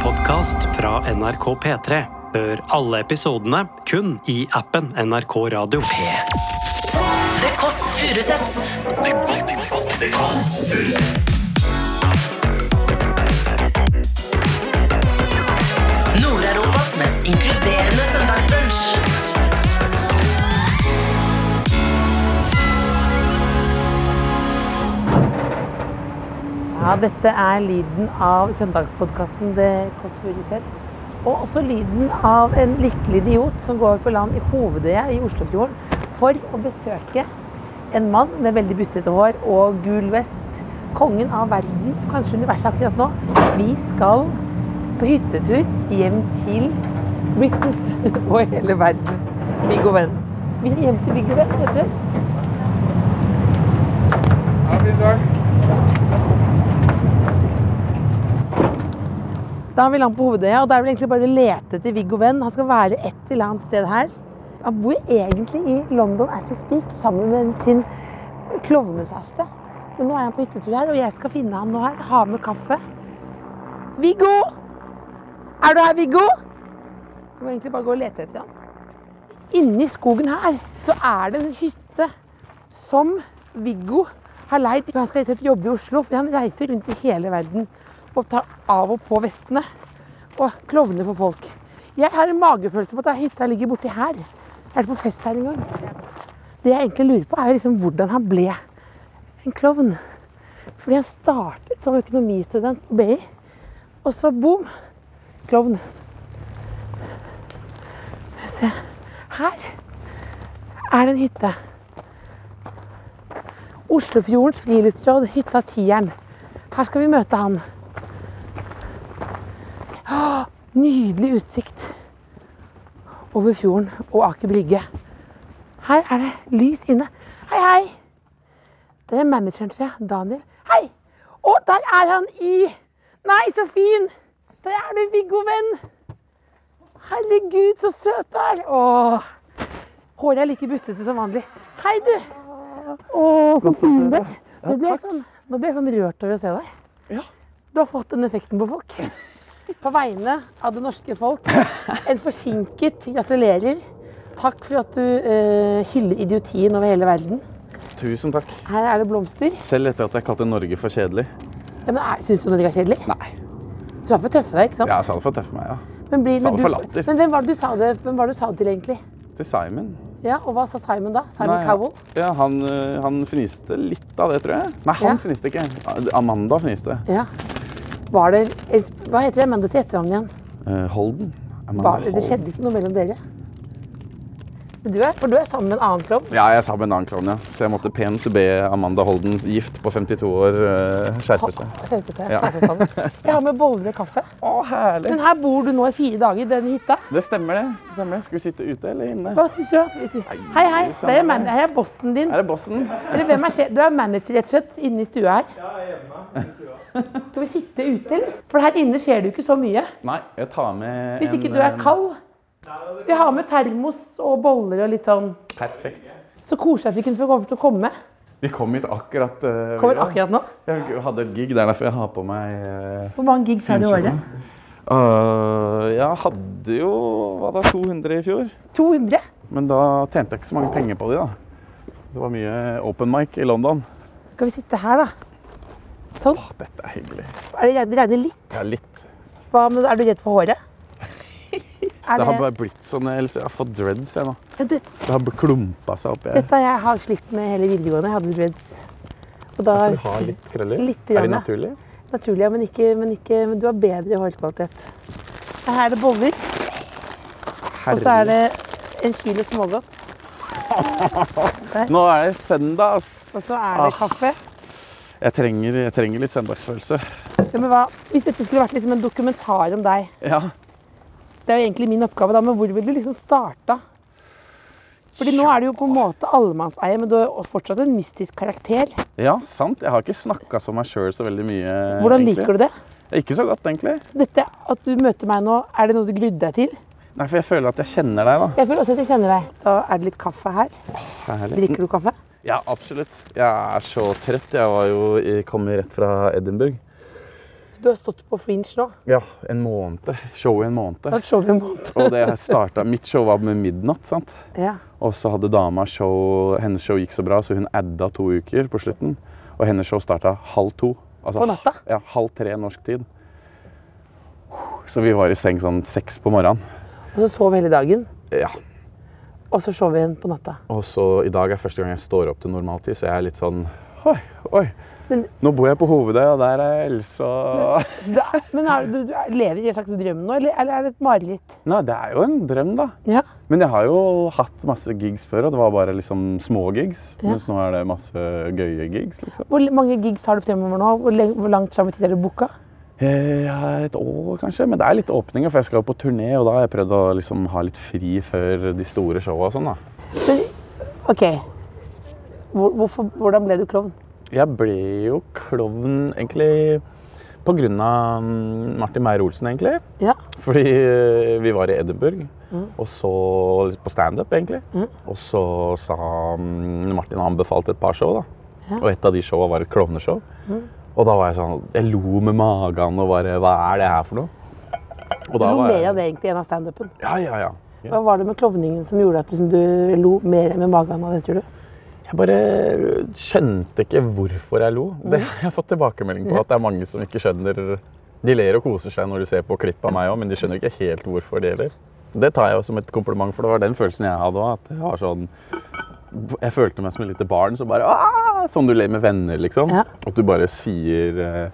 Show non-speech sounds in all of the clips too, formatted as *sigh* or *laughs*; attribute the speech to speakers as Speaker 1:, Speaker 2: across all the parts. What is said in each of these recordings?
Speaker 1: podkast fra NRK P3. Hør alle episodene kun i appen NRK Radio.
Speaker 2: The Kåss Furuseths. Nord-Europas mest inkluderende søndagsbrunsch.
Speaker 3: Ja, dette er lyden av søndagspodkasten The Kåss Furuseth. Og også lyden av en lykkelig idiot som går på land i Hovedøya i Oslofjorden for å besøke en mann med veldig bustete hår og gul vest. Kongen av verden, kanskje universet akkurat nå. Vi skal på hyttetur hjem til Britons *laughs* og hele verdens Viggo Venn. Vi skal hjem til Viggo Venn, rett og slett. Da har vi land på Hovedøya, og da er det vel egentlig bare å lete etter Viggo Venn. Han skal være et eller annet sted her. Han bor egentlig i London as we speak, sammen med sin klovnesæste. Men nå er han på hyttetur her, og jeg skal finne ham nå her. Ha med kaffe. Viggo! Er du her, Viggo? Jeg må egentlig bare gå og lete etter ham. Inni skogen her så er det en hytte som Viggo har leid. Han skal rett og slett jobbe i Oslo. for Han reiser rundt i hele verden og tar av og på vestene. Og klovner for folk. Jeg har en magefølelse på at da hytta ligger borti her. Er det på fest her en gang? Det jeg egentlig lurer på, er jo liksom hvordan han ble en klovn. Fordi han startet som økonomistudent på BI, og så boom, klovn. Skal vi se Her er det en hytte. Oslofjordens friluftsråd, hytta Tieren. Her skal vi møte han. Åh, Nydelig utsikt over fjorden og Aker Brygge. Her er det lys inne. Hei, hei! Det er manageren, tror jeg. Daniel. Hei! Å, der er han i Nei, så fin! Der er du, Viggo venn. Herregud, så søt du er. Åh. Håret er like bustete som vanlig. Hei, du. Å, så fin du er. Nå ble jeg sånn, nå ble jeg sånn rørt over å se deg. Du har fått den effekten på folk.
Speaker 4: *laughs*
Speaker 3: På vegne av det norske folk, en forsinket gratulerer. Takk for at du eh, hyller idiotien over hele verden.
Speaker 4: Tusen takk.
Speaker 3: Her er det blomster.
Speaker 4: Selv etter at jeg kalte Norge for kjedelig.
Speaker 3: Ja, men er- Syns du Norge er kjedelig?
Speaker 4: Nei.
Speaker 3: Du er for tøffe deg, ikke sant?
Speaker 4: Jeg sa det for å tøffe meg, ja.
Speaker 3: men blir,
Speaker 4: sa
Speaker 3: men
Speaker 4: det for latter.
Speaker 3: Men hvem var det du sa det, hvem var det du sa det til, egentlig?
Speaker 4: Til Simon.
Speaker 3: Ja, Og hva sa Simon da? Simon
Speaker 4: Nei, ja.
Speaker 3: Cowell?
Speaker 4: Ja, han, øh, han fniste litt av det, tror jeg. Nei, han
Speaker 3: Ja.
Speaker 4: fniste ikke. Amanda fniste.
Speaker 3: Ja. Var det en- Hva heter det Amanda til etternavn igjen?
Speaker 4: Eh, Holden. Amanda
Speaker 3: Var det, det skjedde ikke noe mellom dere? Men Du er, for du er sammen med en annen klovn?
Speaker 4: Ja, jeg sa med en annen klovn, ja. Så jeg måtte pent be Amanda Holden, gift på 52 år, øh, skjerpe seg.
Speaker 3: Skjerpe seg,
Speaker 4: Ja.
Speaker 3: passe sammen. Jeg har med boller og kaffe.
Speaker 4: Å, herlig.
Speaker 3: Men her bor du nå i fire dager i denne hytta.
Speaker 4: Det stemmer, det. det stemmer. Skal vi sitte ute eller inne?
Speaker 3: Hva syns du? da? Hei, hei. Det er, man her er bossen din.
Speaker 4: Er det bossen?
Speaker 3: Eller hvem er sjef? Du er manager rett og slett inne i stua her. Ja, jeg er hjemme i stua. *laughs* Skal vi sitte ute, eller? For her inne skjer det jo ikke så mye.
Speaker 4: Nei, jeg tar med
Speaker 3: Hvis ikke
Speaker 4: en,
Speaker 3: du er
Speaker 4: øh,
Speaker 3: kald. Vi har med termos og boller og litt sånn.
Speaker 4: Perfekt.
Speaker 3: Så koselig at vi kunne få komme til å komme.
Speaker 4: Vi kom hit akkurat. øh,
Speaker 3: Kommer
Speaker 4: vi var.
Speaker 3: akkurat nå.
Speaker 4: Jeg hadde et gig, det er derfor jeg har på meg øh,
Speaker 3: Hvor mange gigs har du i året?
Speaker 4: Øh, jeg hadde jo hva da, 200 i fjor,
Speaker 3: 200?
Speaker 4: men da tjente jeg ikke så mange penger på de da. Det var mye open mic i London.
Speaker 3: Skal vi sitte her, da? Sånn.
Speaker 4: Åh, dette er hyggelig.
Speaker 3: Er det, det regner litt.
Speaker 4: Ja, litt.
Speaker 3: Hva, med- er du redd for håret? Er
Speaker 4: Det har
Speaker 3: det,
Speaker 4: bare blitt sånn, eller så- jeg har fått dreads jeg nå.
Speaker 3: Ja, det,
Speaker 4: Det har bl- klumpa seg opp. Jeg.
Speaker 3: Dette har jeg har slitt med hele videregående. Jeg hadde dreads. Og da
Speaker 4: Du har litt krøller.
Speaker 3: Litt
Speaker 4: er
Speaker 3: grann,
Speaker 4: det
Speaker 3: ja.
Speaker 4: naturlig?
Speaker 3: Naturlig, ja, men, ikke, men, ikke, men du har bedre hårkvalitet. Her er det boller, og så er det en kilo smågodt.
Speaker 4: Nå er det søndag, ass.
Speaker 3: Og så er det kaffe.
Speaker 4: Jeg trenger, jeg trenger litt søndagsfølelse.
Speaker 3: Ja, men hva, hvis dette skulle vært liksom en dokumentar om deg
Speaker 4: Ja.
Speaker 3: Det er jo egentlig min oppgave, da, men hvor ville du liksom starta? Fordi nå er du jo på en måte allemannseie, men du er jo fortsatt en mystisk karakter.
Speaker 4: ja, sant. Jeg har ikke snakka som meg sjøl så veldig mye.
Speaker 3: Hvordan liker du det?
Speaker 4: det? Ikke så godt, egentlig.
Speaker 3: Så dette, At du møter meg nå, er det noe du gludde deg til?
Speaker 4: Nei, for jeg føler at jeg kjenner deg, da.
Speaker 3: Jeg føler også at jeg kjenner deg. Da er det litt kaffe her.
Speaker 4: Herlig.
Speaker 3: Drikker du kaffe?
Speaker 4: Ja, absolutt. Jeg er så trøtt. Jeg var jo, jeg kom jo rett fra Edinburgh.
Speaker 3: Du Du har stått på Fringe nå.
Speaker 4: Ja, en måned. Show i en
Speaker 3: Du har
Speaker 4: måned.
Speaker 3: hatt show i en måned.
Speaker 4: Og det startet, mitt show var med midnatt, sant?
Speaker 3: Ja.
Speaker 4: Og så hadde dama show Hennes show gikk så bra, så hun adda to uker på slutten. Og hennes show starta halv to. Altså,
Speaker 3: På natta?
Speaker 4: Ja, halv tre norsk tid. Så vi var i seng sånn seks på morgenen.
Speaker 3: Og så sov hele dagen,
Speaker 4: Ja.
Speaker 3: og så sov vi igjen på natta.
Speaker 4: Og så i dag er første gang jeg står opp til normaltid, så jeg er litt sånn Oi, oi.
Speaker 3: Men-
Speaker 4: Nå bor jeg på Hovedøy, og der er Else og
Speaker 3: Det er, men er, du, du er- lever i en slags drøm nå, eller, eller er det et mareritt?
Speaker 4: Nei, det er jo en drøm, da.
Speaker 3: Ja.
Speaker 4: Men jeg har jo hatt masse gigs før, og det var bare liksom små gigs.
Speaker 3: Ja.
Speaker 4: Mens nå er det masse gøye gigs, liksom.
Speaker 3: Hvor mange gigs har du fremover nå? Hvor, lenge, hvor langt fram i tid er du booka?
Speaker 4: Eh, Ja, et år kanskje, men det er litt åpninger, for jeg skal jo på turné, og da har jeg prøvd å liksom ha litt fri før de store showa og sånn, da.
Speaker 3: Men OK. Hvor, hvorfor, hvordan ble du klovn?
Speaker 4: Jeg ble jo klovn egentlig på grunn av mm, Martin Meyer-Olsen, egentlig.
Speaker 3: Ja.
Speaker 4: Fordi eh, vi var i Edinburgh,
Speaker 3: Mm.
Speaker 4: og så litt på standup, egentlig. Og så sa mm, Martin han befalte et par show, da. Og et av de showa var et klovneshow.
Speaker 3: Mm.
Speaker 4: Og da var jeg sånn Jeg lo med magen og bare Hva er det her for noe? Og
Speaker 3: Du
Speaker 4: da
Speaker 3: lo
Speaker 4: var
Speaker 3: mer av
Speaker 4: jeg,
Speaker 3: det egentlig enn av standupen.
Speaker 4: ja, ja, ja.
Speaker 3: Hva var det med klovningen som gjorde at liksom, du lo mer med magen av det, tror du?
Speaker 4: Jeg bare skjønte ikke hvorfor jeg lo. Det har jeg fått tilbakemelding på. At det er mange som ikke skjønner De ler og koser seg når de ser på klipp av meg òg, men de skjønner ikke helt hvorfor det gjelder. Det tar jeg jo som et kompliment, for det var den følelsen jeg hadde òg. At jeg var sånn Jeg følte meg som et lite barn som bare «Aah!» Sånn du ler med venner, liksom.
Speaker 3: Ja.
Speaker 4: At du bare sier eh,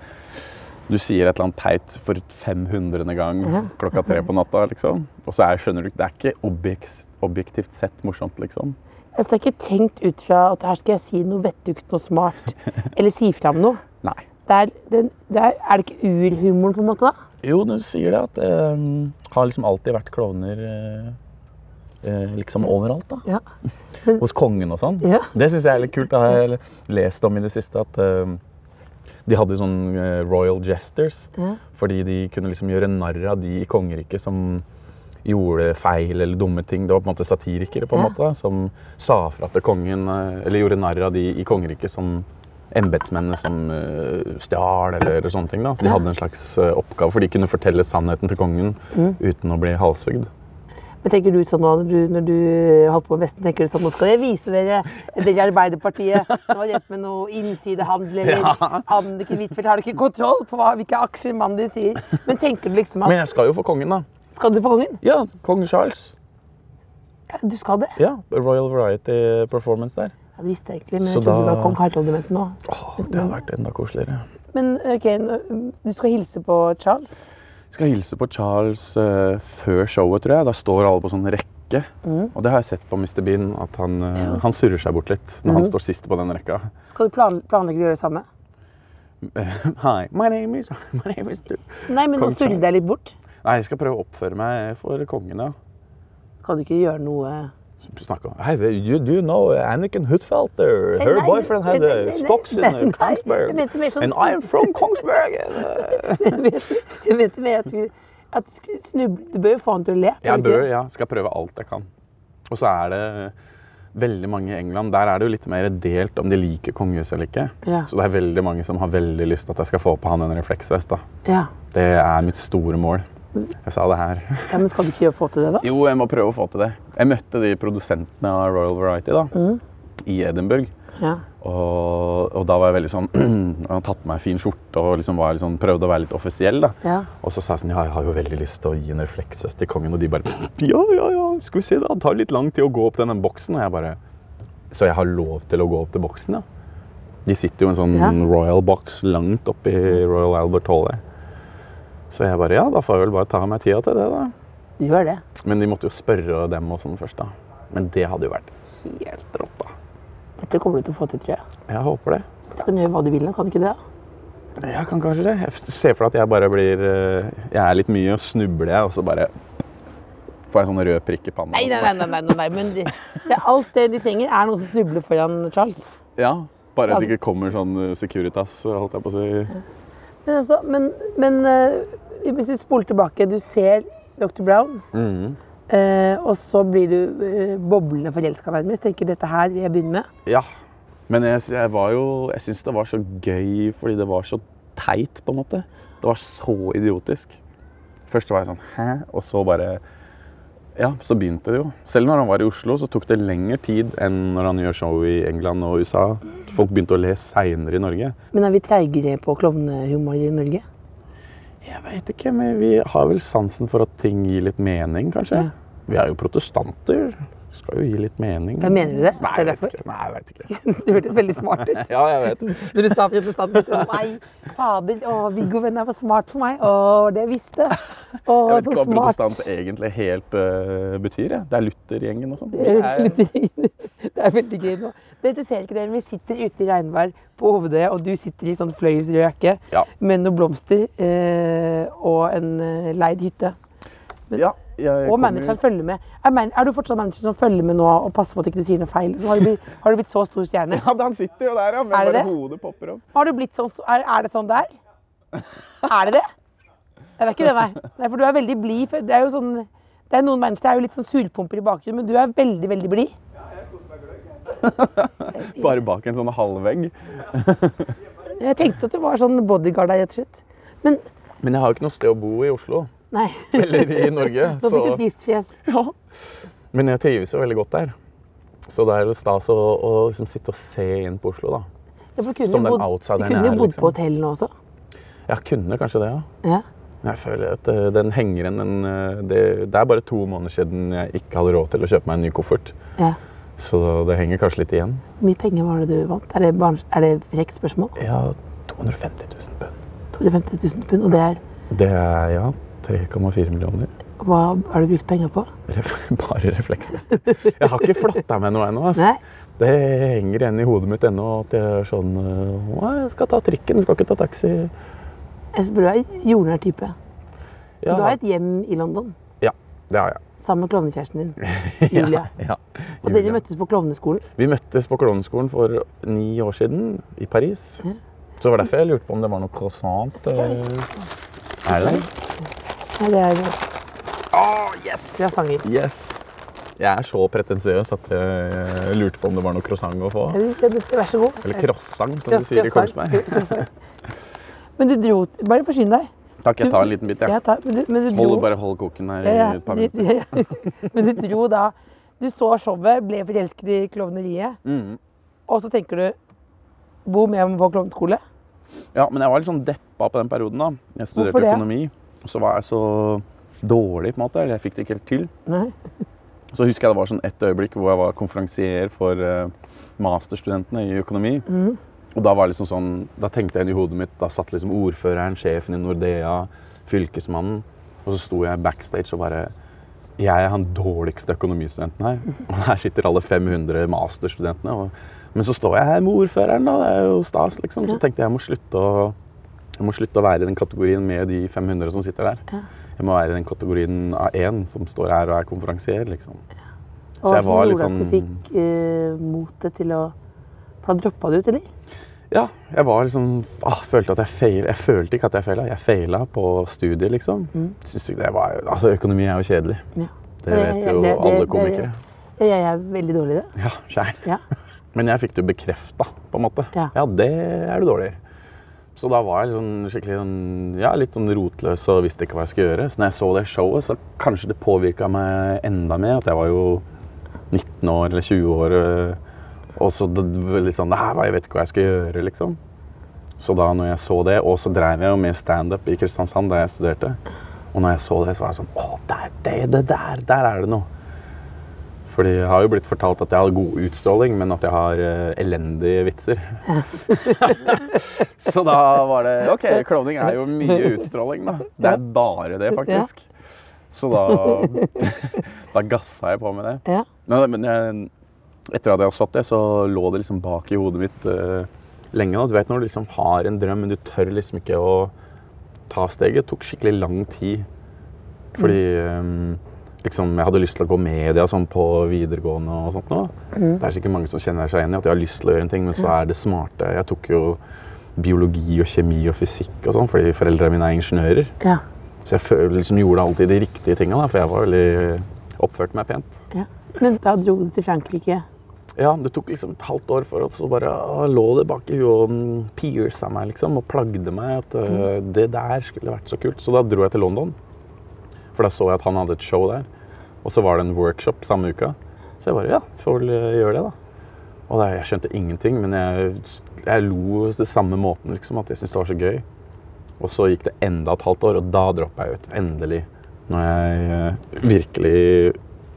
Speaker 4: du sier et eller annet teit for 500. gang klokka tre på natta. liksom. Og så er, skjønner du ikke Det er ikke objekt, objektivt sett morsomt, liksom.
Speaker 3: Altså, det er ikke tenkt ut fra at her skal jeg si noe vettugt, noe smart, eller si fra om noe.
Speaker 4: Nei.
Speaker 3: Det er, det, det er, er det ikke urhumoren, på en måte? da?
Speaker 4: Jo, du sier det at det har liksom alltid vært klovner eh, eh, liksom overalt. da.
Speaker 3: Ja.
Speaker 4: Hos kongen og sånn.
Speaker 3: Ja.
Speaker 4: Det syns jeg er litt kult. Det har jeg lest om i det siste. at... eh, de hadde jo sånn eh, royal jesters, fordi de kunne liksom gjøre narr av de i kongeriket som gjorde feil eller dumme ting. Det var på en måte satirikere på en
Speaker 3: Ja.
Speaker 4: måte, da, som sa fra til kongen, eh, eller gjorde narr av de i kongeriket som embetsmennene som eh, stjal eller, eller sånne ting. da. Så de hadde en slags eh, oppgave, for de kunne fortelle sannheten til kongen
Speaker 3: Mm.
Speaker 4: uten å bli halshugd.
Speaker 3: Men tenker du sånn nå, når du, når du eh, holdt på med Vesten, tenker du sånn, nå skal jeg vise dere dere i Arbeiderpartiet som har drevet med noe innsidehandel, eller Anniken Huitfeldt har ikke kontroll på hva, hvilke aksjer mannen din sier. Men tenker du liksom
Speaker 4: Men
Speaker 3: at
Speaker 4: jeg skal jo for kongen, da.
Speaker 3: Skal du på kongen?
Speaker 4: Ja, kong Charles.
Speaker 3: Ja, du skal det.
Speaker 4: Ja, Royal Variety Performance der.
Speaker 3: Ja, det visste jeg egentlig, men
Speaker 4: Så
Speaker 3: jeg trodde det
Speaker 4: da-
Speaker 3: var kong Harald-dementen òg.
Speaker 4: Åh, det hadde vært enda koseligere.
Speaker 3: Men ok, nå- du skal hilse på Charles.
Speaker 4: skal hilse på Charles eh, før showet, tror jeg. Da står alle på sånn rekke.
Speaker 3: Mm.
Speaker 4: Og det har jeg sett på Mr. Bean, at han, eh, han surrer seg bort litt når
Speaker 3: Mm.
Speaker 4: han står sist på den rekka. *laughs*
Speaker 3: Skal du plan planlegge å gjøre det samme?
Speaker 4: Hi, my name is, *laughs* my name is du.
Speaker 3: Nei, men nå
Speaker 4: Kong
Speaker 3: surrer
Speaker 4: Charles.
Speaker 3: jeg litt bort.
Speaker 4: Nei, jeg skal prøve å oppføre meg for kongen, ja.
Speaker 3: Skal du ikke gjøre noe *laughs*
Speaker 4: Snakke om Hei, you do know Anniken Huitfelter?
Speaker 3: Nei,
Speaker 4: Her
Speaker 3: nei,
Speaker 4: boyfriend had
Speaker 3: nei,
Speaker 4: uh,
Speaker 3: nei, nei,
Speaker 4: stocks in
Speaker 3: nei,
Speaker 4: uh,
Speaker 3: nei,
Speaker 4: Kongsberg.
Speaker 3: jeg mente mer sånn
Speaker 4: And I am
Speaker 3: *laughs*
Speaker 4: from Kongsberg. and, uh,
Speaker 3: Jeg vet- jeg vet ikke, men jeg tror at du skulle snuble Du bør jo få han til å le.
Speaker 4: Jeg
Speaker 3: tror du ikke
Speaker 4: bør, ja. Skal prøve alt jeg kan. Og så er det veldig mange i England. Der er det jo litt mer delt om de liker kongehuset eller ikke.
Speaker 3: Ja.
Speaker 4: Så det er veldig mange som har veldig lyst til at jeg skal få på han en refleksvest. da.
Speaker 3: det? Ja.
Speaker 4: Det er mitt store mål. Jeg sa det her.
Speaker 3: ja, men skal du ikke gjøre få til det, da?
Speaker 4: Mm. Jo, jeg må prøve å få til det. Jeg møtte de produsentene av Royal Variety da, Mm. i Edinburgh.
Speaker 3: Ja.
Speaker 4: Og, og da var jeg veldig sånn *clears throat* Han hadde tatt på meg en fin skjorte og liksom var litt sånn- prøvde å være litt offisiell. da.
Speaker 3: Ja.
Speaker 4: Og så sa jeg sånn Ja, jeg har jo veldig lyst til å gi en refleksvest til kongen. Og de bare Ja, ja, ja, skal vi se, da. Det tar litt lang tid å gå opp denne boksen. Og jeg bare Så jeg har lov til å gå opp til boksen, ja? De sitter jo i en sånn
Speaker 3: Ja.
Speaker 4: royal box langt oppi Royal Albert Hall der. Så jeg bare Ja, da får jeg vel bare ta meg tida til det, da.
Speaker 3: Du gjør det.
Speaker 4: Men de måtte jo spørre dem og sånn først, da. Men det hadde jo vært helt rått, da.
Speaker 3: Dette kommer du til å få til, tror jeg.
Speaker 4: Jeg håper det.
Speaker 3: Du kan gjøre hva du vil, nå, kan du ikke det?
Speaker 4: Jeg kan kanskje det. Jeg ser for meg at jeg bare blir eh, Jeg er litt mye og snubler, jeg, og så bare får jeg sånn rød prikk i panna.
Speaker 3: Nei,
Speaker 4: og så
Speaker 3: nei, nei,
Speaker 4: bare-
Speaker 3: nei, nei, nei, nei. men de, det, alt det de trenger, er noen som snubler foran Charles.
Speaker 4: Ja, bare at
Speaker 3: Ja.
Speaker 4: det ikke kommer sånn eh, Securitas, holdt jeg på å si.
Speaker 3: Men, altså, men, men eh, hvis vi spoler tilbake Du ser Dr. Brown, eh, og så blir du eh, boblende forelska nærmest. Tenker dette her vil jeg begynne med.
Speaker 4: Ja. Men jeg, sy- jeg var jo Jeg syns det var så gøy fordi det var så teit, på en måte. Det var så idiotisk. Først var jeg sånn hæ, og så bare Ja, så begynte det jo. Selv når han var i Oslo, så tok det lengre tid enn når han gjør show i England og USA. Folk begynte å le seinere i Norge.
Speaker 3: Men er vi treigere på klovnehumor i Norge? *laughs*
Speaker 4: Jeg vet ikke, men vi har vel sansen for at ting gir litt mening, kanskje.
Speaker 3: Ja.
Speaker 4: Vi er jo protestanter. Skal jo gi litt mening.
Speaker 3: Ja, mener du det?
Speaker 4: Nei,
Speaker 3: Det er
Speaker 4: jeg vet
Speaker 3: derfor.
Speaker 4: ikke. Nei, jeg vet ikke. *laughs*
Speaker 3: Det hørtes veldig smart ut.
Speaker 4: Ja, jeg vet det.
Speaker 3: Når du sa protestant, tenkte jeg nei, fader, å, Viggo Venner var smart for meg. Å, det visste jeg. Å,
Speaker 4: Jeg vet ikke
Speaker 3: så
Speaker 4: hva
Speaker 3: smart.
Speaker 4: protestant egentlig helt eh, betyr. Jeg. Det er Luther-gjengen og sånn.
Speaker 3: Det er det er veldig gøy nå. Dette ser ikke dere, men vi sitter ute i regnvær på hovedet, og du sitter i sånn fløyelsrød jakke
Speaker 4: Ja.
Speaker 3: med noen blomster eh, og en eh, leid hytte.
Speaker 4: Ja, jeg
Speaker 3: Og
Speaker 4: kommer-
Speaker 3: manageren følger med. Er, man, er du fortsatt manager som følger med nå og passer på at ikke du sier noe feil? Så har, du blitt, har du blitt så stor stjerne?
Speaker 4: *laughs* Ja, han sitter jo der, ja. Men
Speaker 3: Er det
Speaker 4: bare
Speaker 3: det?
Speaker 4: hodet popper opp.
Speaker 3: Har du blitt sånn, er, er det sånn der? Er det det? Nei, det er ikke det, nei. nei for du er veldig blid. for Det er jo sånn, det er noen mennesker det er jo litt sånn surpumper i bakgrunnen, men du er veldig, veldig blid.
Speaker 4: Bare bak en sånn halvvegg.
Speaker 3: Jeg tenkte at du var sånn bodyguard der, rett og slett. Men
Speaker 4: Men jeg har jo ikke noe sted å bo i Oslo. *laughs*
Speaker 3: nei.
Speaker 4: Eller i Norge.
Speaker 3: *laughs* Nå fikk du trist fjes.
Speaker 4: *laughs* Ja. Men jeg trives jo veldig godt der. Så det er jo stas å, å liksom sitte og se inn på Oslo, da.
Speaker 3: Ja, for du kunne
Speaker 4: Som
Speaker 3: jo
Speaker 4: den
Speaker 3: bodd-
Speaker 4: outsideren
Speaker 3: Du
Speaker 4: jeg
Speaker 3: kunne
Speaker 4: er,
Speaker 3: jo bodd
Speaker 4: liksom.
Speaker 3: på hotell nå også.
Speaker 4: Jeg kunne kanskje det, ja.
Speaker 3: Ja.
Speaker 4: Men Jeg føler at eh, den henger igjen. den, eh, Det, det er bare to måneder siden jeg ikke hadde råd til å kjøpe meg en ny koffert.
Speaker 3: ja.
Speaker 4: Så det henger kanskje litt igjen.
Speaker 3: Hvor mye penger var det du vant? Er det, barns- er det frekt spørsmål?
Speaker 4: Ja, 250 000 pund.
Speaker 3: 250 000 pund, og det er
Speaker 4: Det er ja, 3,4 millioner.
Speaker 3: Hva har du brukt penger på?
Speaker 4: Ref, *laughs* bare refleksvester. Jeg har ikke flotta meg noe ennå. ass.
Speaker 3: Nei?
Speaker 4: Det henger igjen i hodet mitt ennå at jeg er sånn eh, «Å, Jeg skal ta trikken, jeg skal ikke ta taxi.
Speaker 3: Jeg spør du er jordnær type.
Speaker 4: Ja,
Speaker 3: Du har et hjem i London
Speaker 4: ja, det har jeg.
Speaker 3: sammen med klovnekjæresten din. Julia.
Speaker 4: *laughs* Ja, ja.
Speaker 3: Og
Speaker 4: Julia.
Speaker 3: dere møttes på klovneskolen.
Speaker 4: Vi møttes på klovneskolen for ni år siden i Paris.
Speaker 3: Ja.
Speaker 4: Så det var derfor jeg lurte på om det var noe croissant. eh, Er det det?
Speaker 3: Nei, det er croissanter.
Speaker 4: Yes. Jeg er så pretensiøs at jeg eh, lurte på om det var noe croissant å få.
Speaker 3: Ja, det- det- det- Vær så god.
Speaker 4: Eller croissant, som de sier i Kongsberg.
Speaker 3: Croissant. Men du dro Bare forsyn deg.
Speaker 4: Takk, jeg tar en liten bit.
Speaker 3: Jeg
Speaker 4: jeg.
Speaker 3: tar, men du, men du
Speaker 4: Hold,
Speaker 3: dro
Speaker 4: bare hold koken her
Speaker 3: *laughs*
Speaker 4: i
Speaker 3: Ja, ja,
Speaker 4: et par
Speaker 3: de-
Speaker 4: minutter.
Speaker 3: de- Men du dro da Du så showet, ble forelsket i klovneriet,
Speaker 4: Mhm.
Speaker 3: og så tenker du Bom, jeg må på klovneskole.
Speaker 4: Ja, men jeg var litt sånn deppa på den perioden. da. Jeg studerte
Speaker 3: Hvorfor det?
Speaker 4: økonomi, og så var jeg så dårlig, på en måte. Eller jeg fikk det ikke helt til.
Speaker 3: Nei.
Speaker 4: Så husker jeg det var sånn et øyeblikk hvor jeg var konferansier for eh, masterstudentene i økonomi. Og da var det liksom sånn, da tenkte jeg inn i hodet mitt, da satt liksom ordføreren, sjefen i Nordea, fylkesmannen. Og så sto jeg backstage og bare Jeg er han dårligste økonomistudenten her. Og her sitter alle 500 masterstudentene. Og, men så står jeg her med ordføreren, da. Det er jo stas, liksom. Så tenkte jeg jeg må slutte å, jeg må slutte å være i den kategorien med de 500 som sitter der. Jeg må være i den kategorien av én som står her og er konferansier, liksom.
Speaker 3: Og
Speaker 4: Så jeg var litt
Speaker 3: At du
Speaker 4: sånn-
Speaker 3: fikk eh, motet til å For da droppa du ut, eller?
Speaker 4: Ja, jeg var liksom ah, følte at jeg feil, Jeg følte ikke at jeg feila. Jeg feila på studiet, liksom. Synes ikke det var, altså, økonomi er jo kjedelig.
Speaker 3: Mm. Ja.
Speaker 4: Det vet jo alle komikere.
Speaker 3: Jeg, jeg er veldig dårlig i det.
Speaker 4: Ja, sjæl.
Speaker 3: Ja.
Speaker 4: *laughs* Men jeg fikk det jo bekrefta, på en måte.
Speaker 3: Ja.
Speaker 4: det er du dårlig i. Så da var jeg liksom skikkelig sånn, ja, litt sånn rotløs og visste ikke hva jeg skulle gjøre. Så når jeg så det showet, så kanskje det påvirka meg enda mer. At jeg var jo 19 år eller 20 år. øh, Og så det var litt sånn Nei, hva, jeg vet ikke hva jeg skal gjøre, liksom. Så da når jeg så det, og så drev jeg jo med standup i Kristiansand, der jeg studerte. Og når jeg så det, så var jeg sånn Å, der, det, det der, der er det noe. Fordi jeg har jo blitt fortalt at jeg har god utstråling, men at jeg har eh, elendige vitser. så da var det OK, klovning er jo mye utstråling, da. Det er bare det, faktisk. Så da, *laughs* da gassa jeg på med det.
Speaker 3: Ja.
Speaker 4: Nei, men jeg, etter at jeg hadde satt det, så lå det liksom bak i hodet mitt eh, lenge. nå. Du vet når du liksom har en drøm, men du tør liksom ikke å ta steget. Det tok skikkelig lang tid. Fordi eh, liksom, jeg hadde lyst til å gå media sånn på videregående og sånt nå. Det er sikkert mange som kjenner seg igjen i at jeg har lyst til å gjøre en ting, men så er det smarte. Jeg tok jo biologi og kjemi og fysikk og sånn, fordi foreldrene mine er ingeniører.
Speaker 3: Ja.
Speaker 4: Så jeg føl- liksom gjorde alltid de riktige tinga, da, for jeg var veldig oppførte meg pent.
Speaker 3: ja. Men da dro du til Frankrike.
Speaker 4: Ja, det tok liksom et halvt år for at så bare ah, lå det bak i huet og mm, pierca meg liksom, og plagde meg at eh, det der skulle vært så kult. Så da dro jeg til London, for da så jeg at han hadde et show der. Og så var det en workshop samme uka. Så jeg bare ja, får vel eh, gjøre det, da. Og da, jeg skjønte ingenting, men jeg, jeg lo det samme måten, liksom, at jeg syntes det var så gøy. Og så gikk det enda et halvt år, og da droppa jeg ut. Endelig. Når jeg eh, virkelig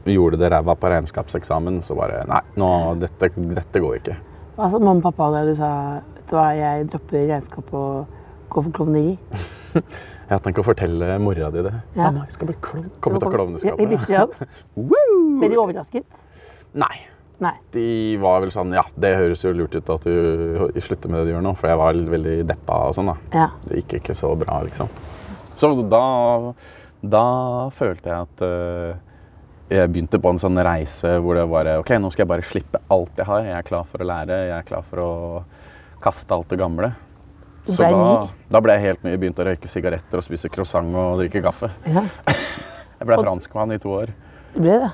Speaker 4: gjorde det ræva på regnskapseksamen, så bare Nei, nå, dette, dette går ikke.
Speaker 3: Altså, mamma og pappa der, du sa vet du hva, jeg dropper regnskap og går for klovneri.
Speaker 4: Jeg tenker å fortelle mora di det.
Speaker 3: Ja.
Speaker 4: Mamma, jeg skal bli klovn. Kom ut av
Speaker 3: Ja,
Speaker 4: klovneskapet.
Speaker 3: riktig, ja. Ble de
Speaker 4: *laughs* Woo!
Speaker 3: overrasket?
Speaker 4: Nei.
Speaker 3: Nei.
Speaker 4: De var vel sånn Ja, det høres jo lurt ut at du slutter med det du gjør nå, for jeg var veldig deppa og sånn, da.
Speaker 3: Ja.
Speaker 4: Det gikk ikke så bra, liksom. Så da, da følte jeg at eh, jeg begynte på en sånn reise hvor det bare OK, nå skal jeg bare slippe alt jeg har. Jeg er klar for å lære. Jeg er klar for å kaste alt det gamle.
Speaker 3: Du
Speaker 4: Så
Speaker 3: ble
Speaker 4: da,
Speaker 3: ny?
Speaker 4: da ble jeg helt ny. Begynte å røyke sigaretter og spise croissant og drikke kaffe.
Speaker 3: Ja,
Speaker 4: Jeg ble franskmann i to år.
Speaker 3: det ble det.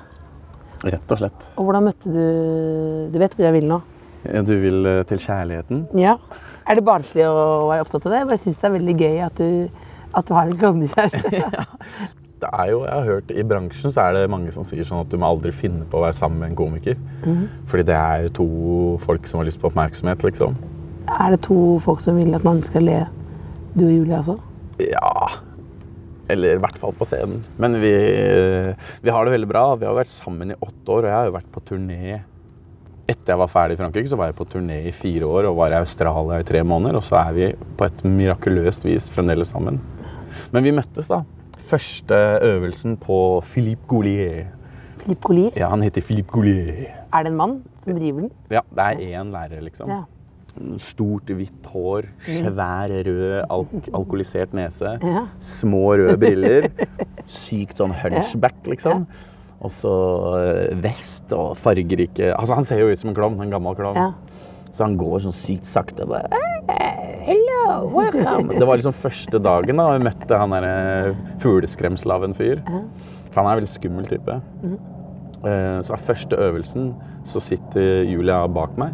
Speaker 4: Rett og slett.
Speaker 3: Og hvordan møtte du Du vet hvor jeg vil nå?
Speaker 4: Du vil eh, til kjærligheten?
Speaker 3: Ja. Er det barnslig å være opptatt av det? Jeg bare syns det er veldig gøy at du, at du har en
Speaker 4: *laughs*
Speaker 3: klovnekjæreste.
Speaker 4: det er jo, jeg har hørt I bransjen så er det mange som sier sånn at du må aldri finne på å være sammen med en komiker. Fordi det er to folk som har lyst på oppmerksomhet, liksom.
Speaker 3: Er det to folk som vil at man skal le? Du og Julie, altså?
Speaker 4: Ja Eller i hvert fall på scenen. Men vi, vi har det veldig bra. Vi har vært sammen i åtte år, og jeg har jo vært på turné Etter jeg var ferdig i Frankrike, så var jeg på turné i fire år og var i Australia i tre måneder. Og så er vi på et mirakuløst vis fremdeles sammen. Men vi møttes, da. Første øvelsen på Philippe Goulier.
Speaker 3: Philippe Collier.
Speaker 4: Ja, han heter Philippe Goulier.
Speaker 3: Er det en mann som driver den?
Speaker 4: Ja, det er én lærer, liksom.
Speaker 3: Ja. Mm.
Speaker 4: Stort, hvitt hår, svær, rød, alk alkoholisert nese.
Speaker 3: Ja.
Speaker 4: Små,
Speaker 3: *laughs*
Speaker 4: røde briller. Sykt sånn hunchback, liksom. Og så eh, vest og fargerike Altså, han ser jo ut som en klovn. En gammel klovn.
Speaker 3: Ja.
Speaker 4: Så han går sånn sykt sakte. Bare, «Hey, hello, welcome. Det var liksom første dagen da vi møtte han der fugleskremsel av en fyr. Han er en veldig skummel type. Eh, Så er første øvelsen så sitter Julia bak meg.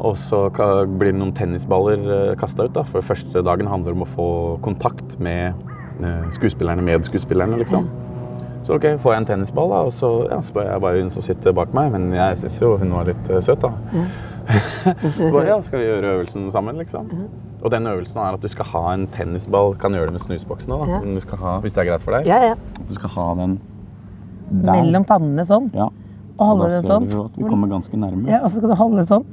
Speaker 4: Og så ka- blir det noen tennisballer kasta ut, da, for første dagen handler om å få kontakt med eh, skuespillerne, medskuespillerne, liksom. Så ok, får jeg en tennisball, da, og så ja, spør jeg bare hun som sitter bak meg. Men jeg syns jo hun var litt eh, søt, da. Så *laughs* bare, ja, skal vi gjøre øvelsen sammen, liksom? Og den øvelsen er at du skal ha en tennisball. Kan gjøre det med snusboksen òg,
Speaker 3: Ja.
Speaker 4: da. Men du skal ha, hvis det er greit for deg.
Speaker 3: Ja, ja.
Speaker 4: Du skal ha den der.
Speaker 3: Mellom pannene sånn.
Speaker 4: Ja.
Speaker 3: Og holde den sånn.
Speaker 4: jo at vi kommer ganske nærme.
Speaker 3: Ja, og så skal du holde den sånn.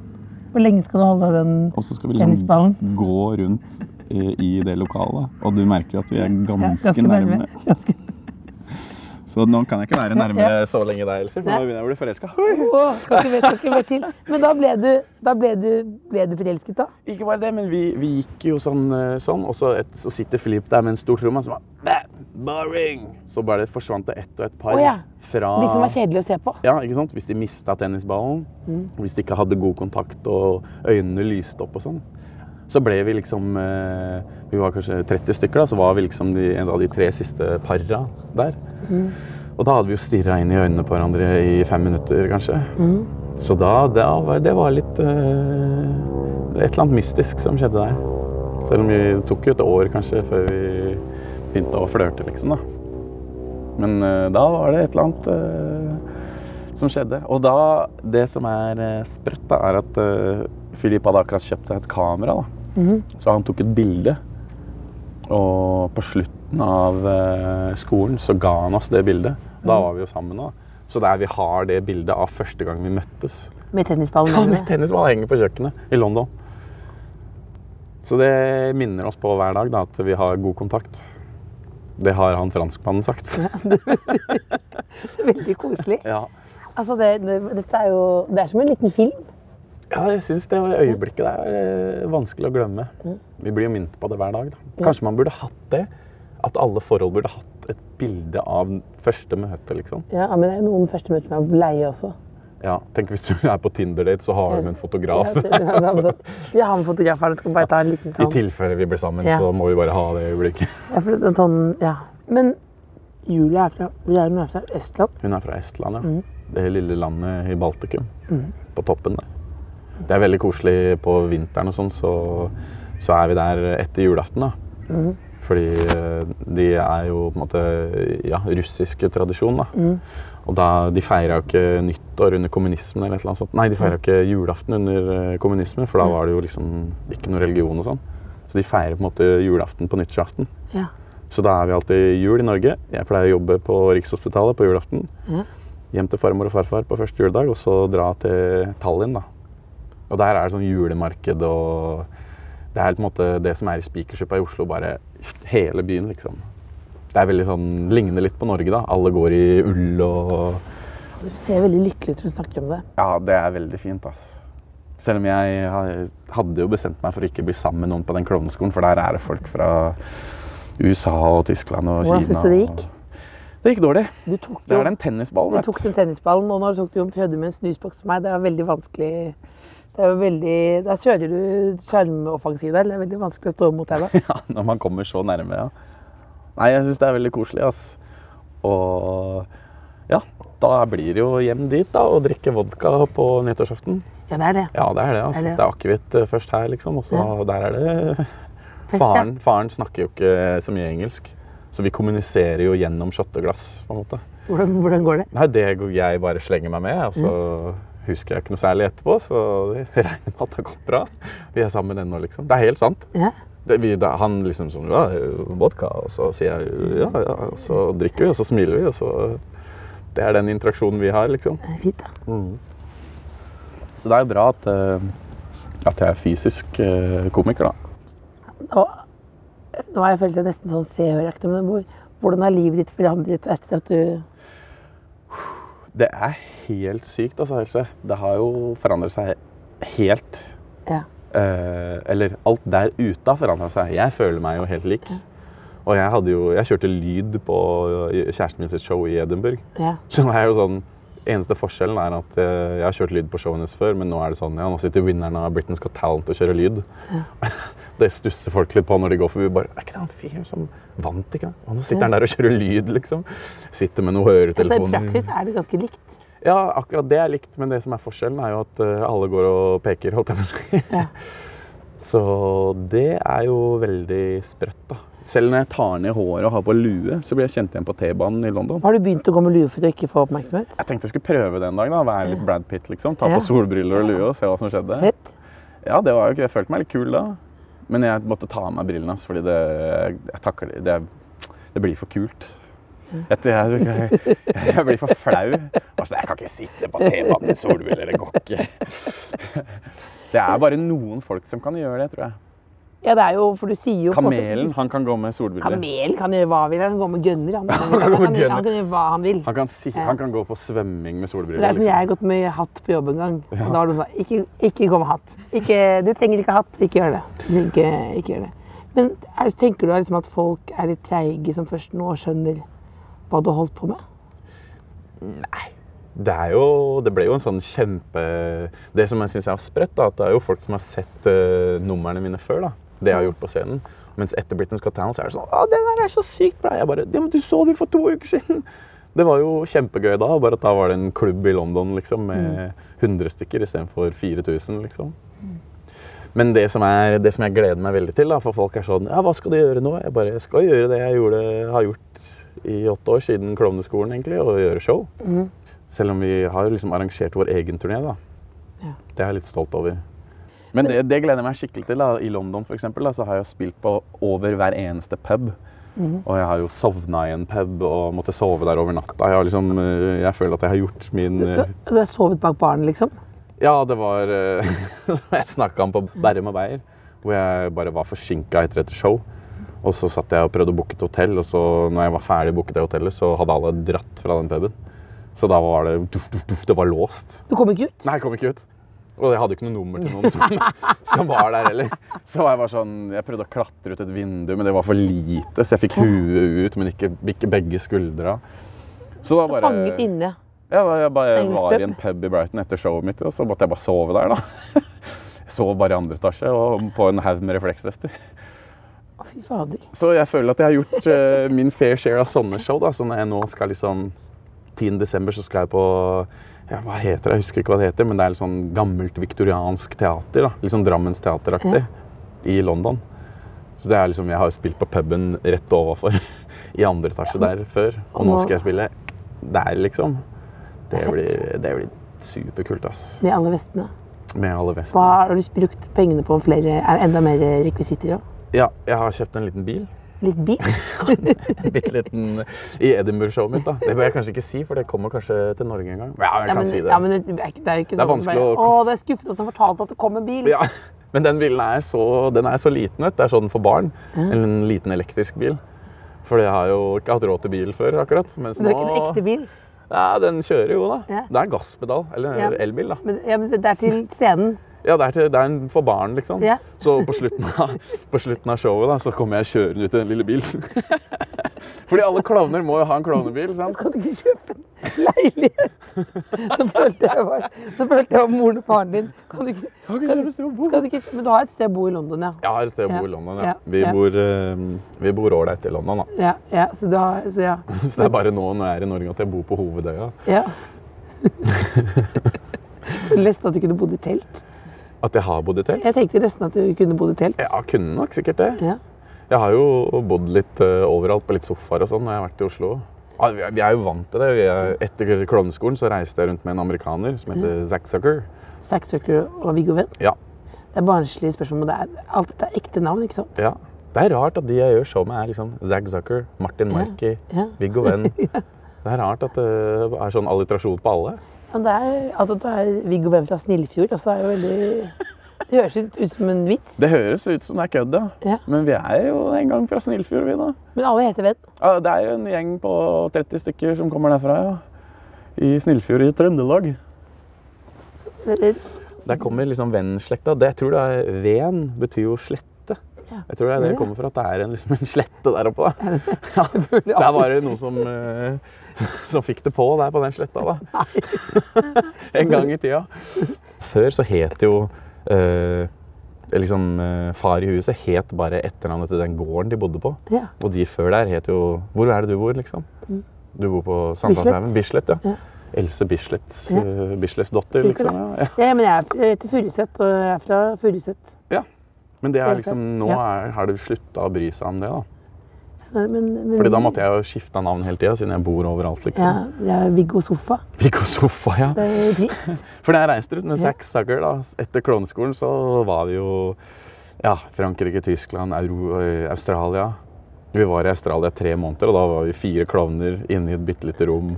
Speaker 3: Hvor lenge skal du holde den?
Speaker 4: Og så skal vi liksom
Speaker 3: Tennisballen.
Speaker 4: gå rundt i, i det lokalet, og du merker at vi er
Speaker 3: Ja,
Speaker 4: ganske,
Speaker 3: ganske nærme. Ganske-
Speaker 4: *laughs* Så nå kan jeg ikke være nærmere så lenge deg, Elsie, for nå
Speaker 3: Nei.
Speaker 4: begynner jeg å bli forelska.
Speaker 3: Åh, skal ikke mer- skal ikke mer til. Men da ble du, da ble du, ble du forelsket, da?
Speaker 4: Ikke bare det, men vi, vi gikk jo sånn, eh, sånn og så, et, så sitter Philip der med en stor tromme som bare "Bæ, Boring! Så bare det forsvant det ett og ett par
Speaker 3: Å ja.
Speaker 4: fra
Speaker 3: De som var kjedelige å se på?
Speaker 4: Ja, ikke sant? Hvis de mista tennisballen, hvis de ikke hadde god kontakt og øynene lyste opp og sånn. Så ble vi liksom eh, Vi var kanskje 30 stykker, da, så var vi liksom de, en av de tre siste para der. Og da hadde vi jo stirra inn i øynene på hverandre i fem minutter, kanskje. Så da, da var, det var litt eh, Et eller annet mystisk som skjedde der. Selv om vi det tok jo et år kanskje før vi begynte å flørte, liksom. da. Men eh, da var det et eller annet eh, som skjedde. Og da, det som er eh, sprøtt, da, er at eh, Philip hadde akkurat kjøpt seg et kamera. Da. Så han tok et bilde. Og på slutten av eh, skolen så ga han oss det bildet. Da var vi jo sammen da. Så der vi har det bildet av første gang vi møttes.
Speaker 3: Med tennisballen?
Speaker 4: Ja,
Speaker 3: mener
Speaker 4: med
Speaker 3: du?
Speaker 4: tennisball henger på kjøkkenet i London. Så det minner oss på hver dag da, at vi har god kontakt. Det har han franskmannen sagt.
Speaker 3: Veldig koselig.
Speaker 4: Ja.
Speaker 3: Altså, det, det, dette er jo Det er som en liten film.
Speaker 4: Ja, jeg syns det øyeblikket der er eh, vanskelig å glemme.
Speaker 3: Mm.
Speaker 4: Vi blir jo minnet på det hver dag. Da. Kanskje man burde hatt det? At alle forhold burde hatt et bilde av første møte, liksom.
Speaker 3: Ja, men det er noen første møter som er leie også.
Speaker 4: Ja, Tenk hvis du *laughs* er på Tinder-date, så har du med en
Speaker 3: Mm. Ja,
Speaker 4: fotograf.
Speaker 3: det- det er altså- Ja, han fotografen skal bare ta en liten
Speaker 4: I
Speaker 3: sånn.
Speaker 4: tilfelle vi blir sammen,
Speaker 3: Ja.
Speaker 4: så må vi bare ha det øyeblikket.
Speaker 3: Ja, for det er en sånn ja. Men Julie er fra, vi er jo fra Østland.
Speaker 4: Hun er fra Estland, ja. Det lille landet i Baltikum. på toppen der. Det er veldig koselig på vinteren og sånn, så, så er vi der etter julaften, da. Fordi eh, de er jo på en måte ja, russiske tradisjon, da. Og da, de feira jo ikke nyttår under kommunismen eller et eller annet sånt. Nei, de feira ikke julaften under eh, kommunismen, for da var det jo liksom ikke noe religion og sånn. Så de feirer på en måte julaften på nyttårsaften.
Speaker 3: Ja.
Speaker 4: Så da er vi alltid jul i Norge. Jeg pleier å jobbe på Rikshospitalet på julaften. Hjem til farmor og farfar på første juledag, og så dra til Tallinn, da. Og der er det sånn julemarked og Det er på en måte det som er i Spikersuppa i Oslo, bare hele byen, liksom. Det er veldig sånn Ligner litt på Norge, da. Alle går i ull og
Speaker 3: Du ser veldig lykkelig ut når du snakker om det.
Speaker 4: Ja, det er veldig fint, ass. Selv om jeg ha- hadde jo bestemt meg for å ikke bli sammen med noen på den klovneskolen, for der er det folk fra USA og Tyskland og
Speaker 3: Hvordan
Speaker 4: Kina.
Speaker 3: synes du det
Speaker 4: og-
Speaker 3: gikk?
Speaker 4: Det gikk dårlig.
Speaker 3: Du tok
Speaker 4: Det er
Speaker 3: jo
Speaker 4: den
Speaker 3: Du
Speaker 4: tennisballen,
Speaker 3: tok den tennisballen, og når du tok du en prøvde med en snusboks for meg, det er veldig vanskelig. Det er jo veldig, der kjører du sjarmoffensiv der. Det er veldig vanskelig å stå imot deg da.
Speaker 4: *laughs* Ja, når man kommer så nærme, ja. Nei, jeg syns det er veldig koselig, ass. Og ja, da blir det jo hjem dit, da, og drikke vodka på nyttårsaften.
Speaker 3: Ja, det er det.
Speaker 4: Ja, det er det, ass.
Speaker 3: Er
Speaker 4: Det
Speaker 3: det-
Speaker 4: er akevitt eh, først her, liksom, og så
Speaker 3: Ja.
Speaker 4: der er det
Speaker 3: Fest, ja.
Speaker 4: faren, faren snakker jo ikke så mye engelsk, så vi kommuniserer jo gjennom shotteglass, på en måte.
Speaker 3: Hvordan, hvordan går det?
Speaker 4: Nei, det går- jeg bare slenger meg med, og så husker jeg ikke noe særlig etterpå, så *laughs* jeg regner med at det har gått bra. Vi er sammen ennå, liksom. Det er helt sant.
Speaker 3: Ja.
Speaker 4: Det, vi, da, han liksom sånn ja, Vodka. Og så sier jeg ja, ja. Og så drikker vi, og så smiler vi. Og så Det er den interaksjonen vi har, liksom.
Speaker 3: Det er fint, da.
Speaker 4: Så det er jo bra at, eh, at jeg er fysisk eh, komiker, da.
Speaker 3: Og nå har jeg følt det nesten sånn se og hør-aktig, men hvor, hvordan har livet ditt forandret seg etter at du
Speaker 4: Det er helt sykt, altså, Else. Det har jo forandret seg helt.
Speaker 3: Ja.
Speaker 4: Eh, eller alt der ute har forandra seg. Jeg føler meg jo helt lik. Og jeg, hadde jo, jeg kjørte lyd på kjæresten min sitt show i Edinburgh. *laughs*
Speaker 3: ja. Altså,
Speaker 4: Så det er jo sånn, Eneste forskjellen er at eh, jeg har kjørt lyd på showet hennes før, men nå er det sånn, ja, nå sitter vinneren av Britain's Got Talent og kjører lyd. *laughs* Det stusser folk litt på når de går forbi. bare, Er ikke det han fyren som vant? ikke det? Og nå sitter han der og kjører lyd, liksom. Sitter med noen
Speaker 3: Så i
Speaker 4: høretelefoner.
Speaker 3: praksis er Altså, det ganske likt.
Speaker 4: Ja, akkurat det er likt, men det som er forskjellen er jo at eh, alle går og peker, holdt jeg på å si. *laughs* Så det er jo veldig sprøtt, da. Selv når jeg tar ned håret og har på lue, så blir jeg kjent igjen på T-banen i London.
Speaker 3: Har du begynt å gå med lue for å ikke få oppmerksomhet?
Speaker 4: Jeg tenkte jeg skulle prøve det en dag, da. Være litt Brad Pitt, liksom. Ta
Speaker 3: Ja.
Speaker 4: på solbriller og lue og se hva som skjedde.
Speaker 3: Fett.
Speaker 4: Ja, det var jo ikke Jeg følte meg litt kul da. Men jeg måtte ta av meg brillene, ass, fordi det Jeg takler det Det blir for kult. Jeg, jeg, jeg, jeg blir for flau. Altså, jeg kan ikke sitte på T-banen med solbriller. Det går ikke. Det er bare noen folk som kan gjøre det, tror jeg.
Speaker 3: Ja, det er jo, for du sier jo på en måte-
Speaker 4: Kamelen, han kan gå med solbriller.
Speaker 3: Kamelen kan gjøre hva han vil. Han kan gå med gønner. Han, han,
Speaker 4: *laughs* Han kan gå med
Speaker 3: kan-
Speaker 4: gunner.
Speaker 3: han kan gjøre hva han vil.
Speaker 4: Han kan, si, han kan gå på svømming med
Speaker 3: Det er
Speaker 4: solbriller.
Speaker 3: som jeg
Speaker 4: Liksom.
Speaker 3: har gått med hatt på jobb en gang. Og da var det sånn ikke, ikke gå med hatt. Ikke, du trenger ikke hatt. Ikke gjør det. Ikke, ikke gjør det. Men er, tenker du liksom at folk er litt treige som først nå skjønner hva du har holdt på med?
Speaker 4: Det, er jo, det ble jo en sånn kjempe Det som jeg syns er sprøtt, da, at det er jo folk som har sett eh, numrene mine før. da. Det jeg har gjort på scenen. Mens etter Britain's Got Talent så er det sånn Å, det der er så sykt bra! Jeg bare Ja, men du så det jo for to uker siden! *laughs* Det var jo kjempegøy da, bare at da var det en klubb i London liksom, med 100 stykker istedenfor 4000. liksom. Men det som, er, det som jeg gleder meg veldig til, da, for folk er sånn Ja, hva skal du gjøre nå? Jeg bare jeg skal gjøre det jeg gjorde, har gjort i åtte år siden klovneskolen, egentlig, og gjøre show. Selv om vi har jo liksom arrangert vår egen turné, da. Det er jeg litt stolt over. Men det, det gleder jeg meg skikkelig til. da. I London for eksempel, da, så har jeg jo spilt på over hver eneste pub. Og jeg har jo sovna i en pub og måtte sove der over natta. Jeg, har liksom, eh, jeg føler at jeg har gjort min
Speaker 3: Du,
Speaker 4: eh,
Speaker 3: du har sovet bak baren, liksom?
Speaker 4: Ja, det var eh, *laughs* som Jeg snakka om på Bærum og Beyer, hvor jeg bare var forsinka etter et show. Og så satt jeg og prøvde å booke et hotell, og så når jeg var ferdig å booke det hotellet, så hadde alle dratt fra den puben. Så da var det duff, duff, duff, Det var låst.
Speaker 3: Du kom ikke ut?
Speaker 4: Nei, jeg kom ikke ut. Og jeg hadde ikke noe nummer til noen som, *laughs* som var der heller. Så var jeg bare sånn, jeg prøvde å klatre ut et vindu, men det var for lite, så jeg fikk huet ut, men ikke, ikke begge skuldra. Så da bare,
Speaker 3: Fanget inne.
Speaker 4: jeg, var- jeg bare
Speaker 3: Engelsk
Speaker 4: var i en
Speaker 3: pub.
Speaker 4: pub i Brighton etter showet mitt, og så måtte jeg bare sove der da. *laughs* Jeg sov bare i andre etasje, og på en haug med refleksvester.
Speaker 3: Å, fy fader.
Speaker 4: Så jeg føler at jeg har gjort eh, min fair share av sånne show. da, Så når jeg nå skal liksom 10. desember så skal jeg på ja, Hva heter det? Jeg husker ikke hva det heter, men det er litt sånn gammelt viktoriansk teater. da. Litt sånn Drammens teateraktig i London. Så det er liksom, Jeg har jo spilt på puben rett overfor *laughs* i andre etasje der før, og nå skal jeg spille der, liksom. Det blir, det blir superkult, ass.
Speaker 3: Med alle vestene.
Speaker 4: Med alle vestene.
Speaker 3: Hva har du brukt pengene på? Flere, er det enda mer rekvisitter òg?
Speaker 4: Ja, jeg har kjøpt en liten bil.
Speaker 3: Litt bil?
Speaker 4: En bitte liten i Edinburgh-showet mitt. da. Det bør jeg kanskje ikke si, for det kommer kanskje til Norge en gang. Ja, jeg
Speaker 3: Ja,
Speaker 4: kan
Speaker 3: men,
Speaker 4: si det.
Speaker 3: ja, men det er, ikke- det er jo ikke
Speaker 4: Det er
Speaker 3: sånn at du
Speaker 4: vanskelig å-
Speaker 3: bare, Å, det er skuffet at han fortalte at det kom en bil.
Speaker 4: Ja, men den bilen er så, den er så liten. Vet. du. Det er sånn for barn. En liten elektrisk bil. For jeg har jo ikke hatt råd til bil før. akkurat. Mens
Speaker 3: Men det er ikke en ekte
Speaker 4: nå,
Speaker 3: bil.
Speaker 4: ja, Den kjører jo, da.
Speaker 3: Ja.
Speaker 4: Det er gasspedal. Eller
Speaker 3: Ja.
Speaker 4: elbil, da.
Speaker 3: Men, ja, men det er til scenen.
Speaker 4: Ja, det er, til, det er en for barn, liksom.
Speaker 3: Ja.
Speaker 4: Så på slutten, av, på slutten av showet da, så kommer jeg kjørende ut i den lille bilen. *laughs* Fordi alle klovner må jo ha en klovnebil. sant?
Speaker 3: Skal du ikke kjøpe en leilighet? Nå følte jeg var, nå følte jeg var moren og faren din. Kan du ikke,
Speaker 4: Kan ikke kjøpe et sted å bo.
Speaker 3: skal du ikke, men du har et sted å bo i London, ja.
Speaker 4: Jeg har et sted å bo
Speaker 3: Ja.
Speaker 4: i London.
Speaker 3: Ja.
Speaker 4: ja. Vi
Speaker 3: Ja.
Speaker 4: bor, eh, vi bor ålreit i London, da. *laughs*
Speaker 3: Ja, ja, så du har, så ja.
Speaker 4: Så det er bare nå når jeg er i Norge at jeg bor på hovedøya.
Speaker 3: ja. Du leste at du kunne bodd i telt.
Speaker 4: At jeg har bodd i telt.
Speaker 3: Jeg tenkte nesten at du kunne bodd i telt.
Speaker 4: Ja, kunne nok sikkert det.
Speaker 3: Ja.
Speaker 4: Jeg har jo bodd litt eh, overalt, på litt sofaer og sånn, når jeg har vært i Oslo. Ja, Vi er- vi er jo vant til det. Vi er- Etter klovneskolen så reiste jeg rundt med en amerikaner som heter Zack Zucker.
Speaker 3: Zack Zucker og Viggo Venn.
Speaker 4: Ja.
Speaker 3: Det er barnslige spørsmål, men det er, alt dette er ekte navn, ikke sant?
Speaker 4: ja. Det er rart at de jeg gjør show med, er liksom Zack Zucker, Martin Markey,
Speaker 3: *laughs* Ja.
Speaker 4: Viggo Venn. Det er rart at det er sånn alliterasjon på alle.
Speaker 3: Men det er altså, at du er Viggo Venn fra Snillefjord, altså er jo veldig... Det høres ut, ut som en vits,
Speaker 4: Det høres ut som det er kødd,
Speaker 3: Ja.
Speaker 4: Men vi er jo en gang fra Snillfjord, vi, da.
Speaker 3: men alle heter Venn.
Speaker 4: Ja, det er jo en gjeng på 30 stykker som kommer derfra, ja. I Snillfjord i Trøndelag.
Speaker 3: Eller-
Speaker 4: Der kommer liksom vennslekta. Det jeg tror det er Ven betyr jo slette.
Speaker 3: Ja.
Speaker 4: Jeg tror det er det
Speaker 3: Ja.
Speaker 4: det kommer fra, at det er en, liksom en slette der oppe. da. Ja,
Speaker 3: burde
Speaker 4: der
Speaker 3: aldri-
Speaker 4: var det noen som, eh, *laughs* som fikk det på der på den sletta, da. en gang i tida. Før så het jo eh, liksom eh, Far i huset het bare etternavnet til den gården de bodde på.
Speaker 3: Ja.
Speaker 4: Og de før der het jo Hvor er det du bor, liksom?
Speaker 3: Mm.
Speaker 4: Du bor på Sandalshaugen? Bislett, ja. Else Bislets,
Speaker 3: Ja.
Speaker 4: eh, Bislets datter, liksom. Ja. ja.
Speaker 3: Ja, men jeg, er- jeg heter Furuset, og jeg er fra Furuset.
Speaker 4: Ja. Men det er
Speaker 3: Helt
Speaker 4: liksom,
Speaker 3: sant.
Speaker 4: nå
Speaker 3: Ja.
Speaker 4: er, har du slutta å bry seg om det. da.
Speaker 3: Så- Men, men,
Speaker 4: Fordi da måtte jeg jo skifte navn hele tida, siden jeg bor overalt.
Speaker 3: Mm. Ja,
Speaker 4: liksom.
Speaker 3: jeg er Viggo Sofa.
Speaker 4: Viggo Sofa, ja.
Speaker 3: Det er trist.
Speaker 4: For da jeg reiste ut med Zack Zucker da, etter klovneskolen, så var vi jo ja, Frankrike, Tyskland, Euro, eh, Australia. Vi var i Australia tre måneder, og da var vi fire klovner inne i et bitte lite rom.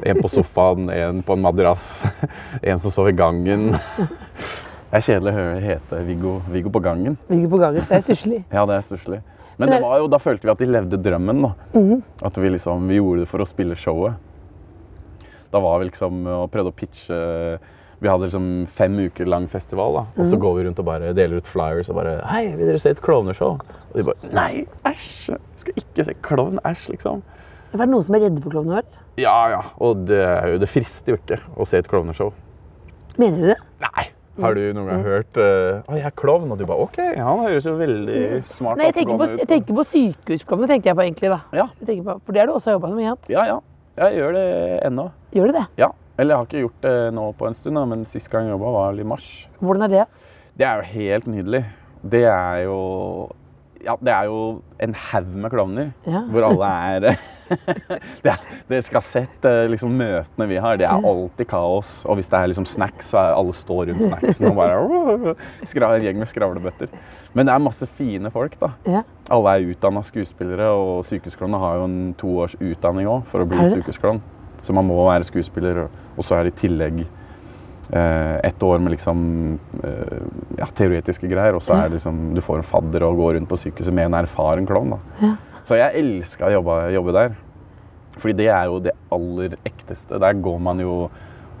Speaker 4: En på sofaen, *laughs* en på en madrass, *laughs* en som sov i gangen. *laughs* Det er kjedelig å høre hete Viggo, Viggo på gangen.
Speaker 3: Viggo på gangen, det er stusslig.
Speaker 4: Ja, det er stusslig. Men det var jo, da følte vi at de levde drømmen. da.
Speaker 3: Mhm.
Speaker 4: At vi liksom, vi gjorde det for å spille showet. Da var vi liksom og prøvde å pitche Vi hadde liksom fem uker lang festival, da. og
Speaker 3: Mhm.
Speaker 4: så går vi rundt og bare deler ut flyers og bare Hei, vil dere se et klovneshow? Og de bare Nei, æsj! jeg Skal ikke se klovn, æsj, liksom.
Speaker 3: Det var noen som er redde for klovner.
Speaker 4: Ja ja. Og det, er jo- det frister jo ikke å se et klovneshow.
Speaker 3: Mener du det?
Speaker 4: Nei. Har du noen
Speaker 3: Mhm.
Speaker 4: gang hørt eh, Å, jeg er klovn. Og du bare OK, han høres jo veldig smart
Speaker 3: Mhm. Nei, jeg tenker på,
Speaker 4: oppegående
Speaker 3: jeg tenker på sykehusklovner, tenker jeg på egentlig, da.
Speaker 4: Ja.
Speaker 3: Jeg tenker på, for det har du også jobba som, ikke sant?
Speaker 4: Ja, ja. Jeg gjør det ennå.
Speaker 3: Gjør du det?
Speaker 4: Ja. Eller jeg har ikke gjort det nå på en stund, da, men sist gang jeg jobba, var vel i mars.
Speaker 3: Hvordan er det?
Speaker 4: Det er jo helt nydelig. Det er jo ja, det er jo en haug med klovner,
Speaker 3: Ja.
Speaker 4: hvor alle er *laughs* det, er- Dere skal ha sett eh, liksom, møtene vi har. Det er alltid kaos. Og hvis det er liksom, snacks, så er alle står rundt snacksen og bare *laughs* skra, En gjeng med skravlebøtter. Men det er masse fine folk, da.
Speaker 3: Ja.
Speaker 4: Alle er utdanna skuespillere, og sykehusklovnene har jo en to års utdanning òg for å bli
Speaker 3: Er det?
Speaker 4: sykehusklovn. Så man må være skuespiller, og- og så er det i tillegg eh, ett år med liksom eh, ja, teoretiske greier, og så er det liksom du får en fadder og går rundt på sykehuset med en erfaren klovn. da. Så jeg elska å jobbe, jobbe der. Fordi det er jo det aller ekteste. Der går man jo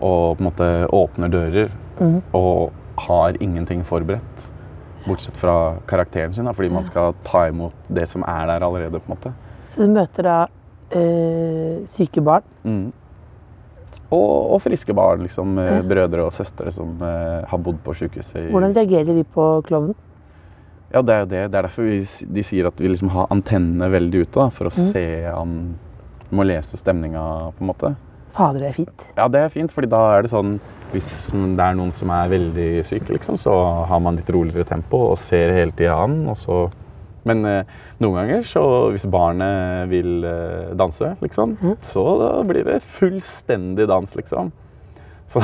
Speaker 4: og på en måte åpner dører
Speaker 3: Mm.
Speaker 4: og har ingenting forberedt. Bortsett fra karakteren sin, da, fordi man skal ta imot det som er der allerede. på en måte.
Speaker 3: Så du møter da øh, syke barn.
Speaker 4: Og, og friske barn, liksom. eh, Brødre og søstre som eh, har bodd på sjukehuset. i-
Speaker 3: Hvordan reagerer de på klovnen?
Speaker 4: Ja, det er jo det. Det er derfor vi, s- de sier at vi liksom har antennene veldig ute, da, for å se an Vi må lese stemninga, på en måte.
Speaker 3: Fader, det er fint.
Speaker 4: Ja, det er fint, fordi da er det sånn Hvis det er noen som er veldig syk, liksom, så har man litt roligere tempo og ser hele tida an, og så Men eh, noen ganger, så hvis barnet vil eh, danse, liksom, så da blir det fullstendig dans, liksom. Så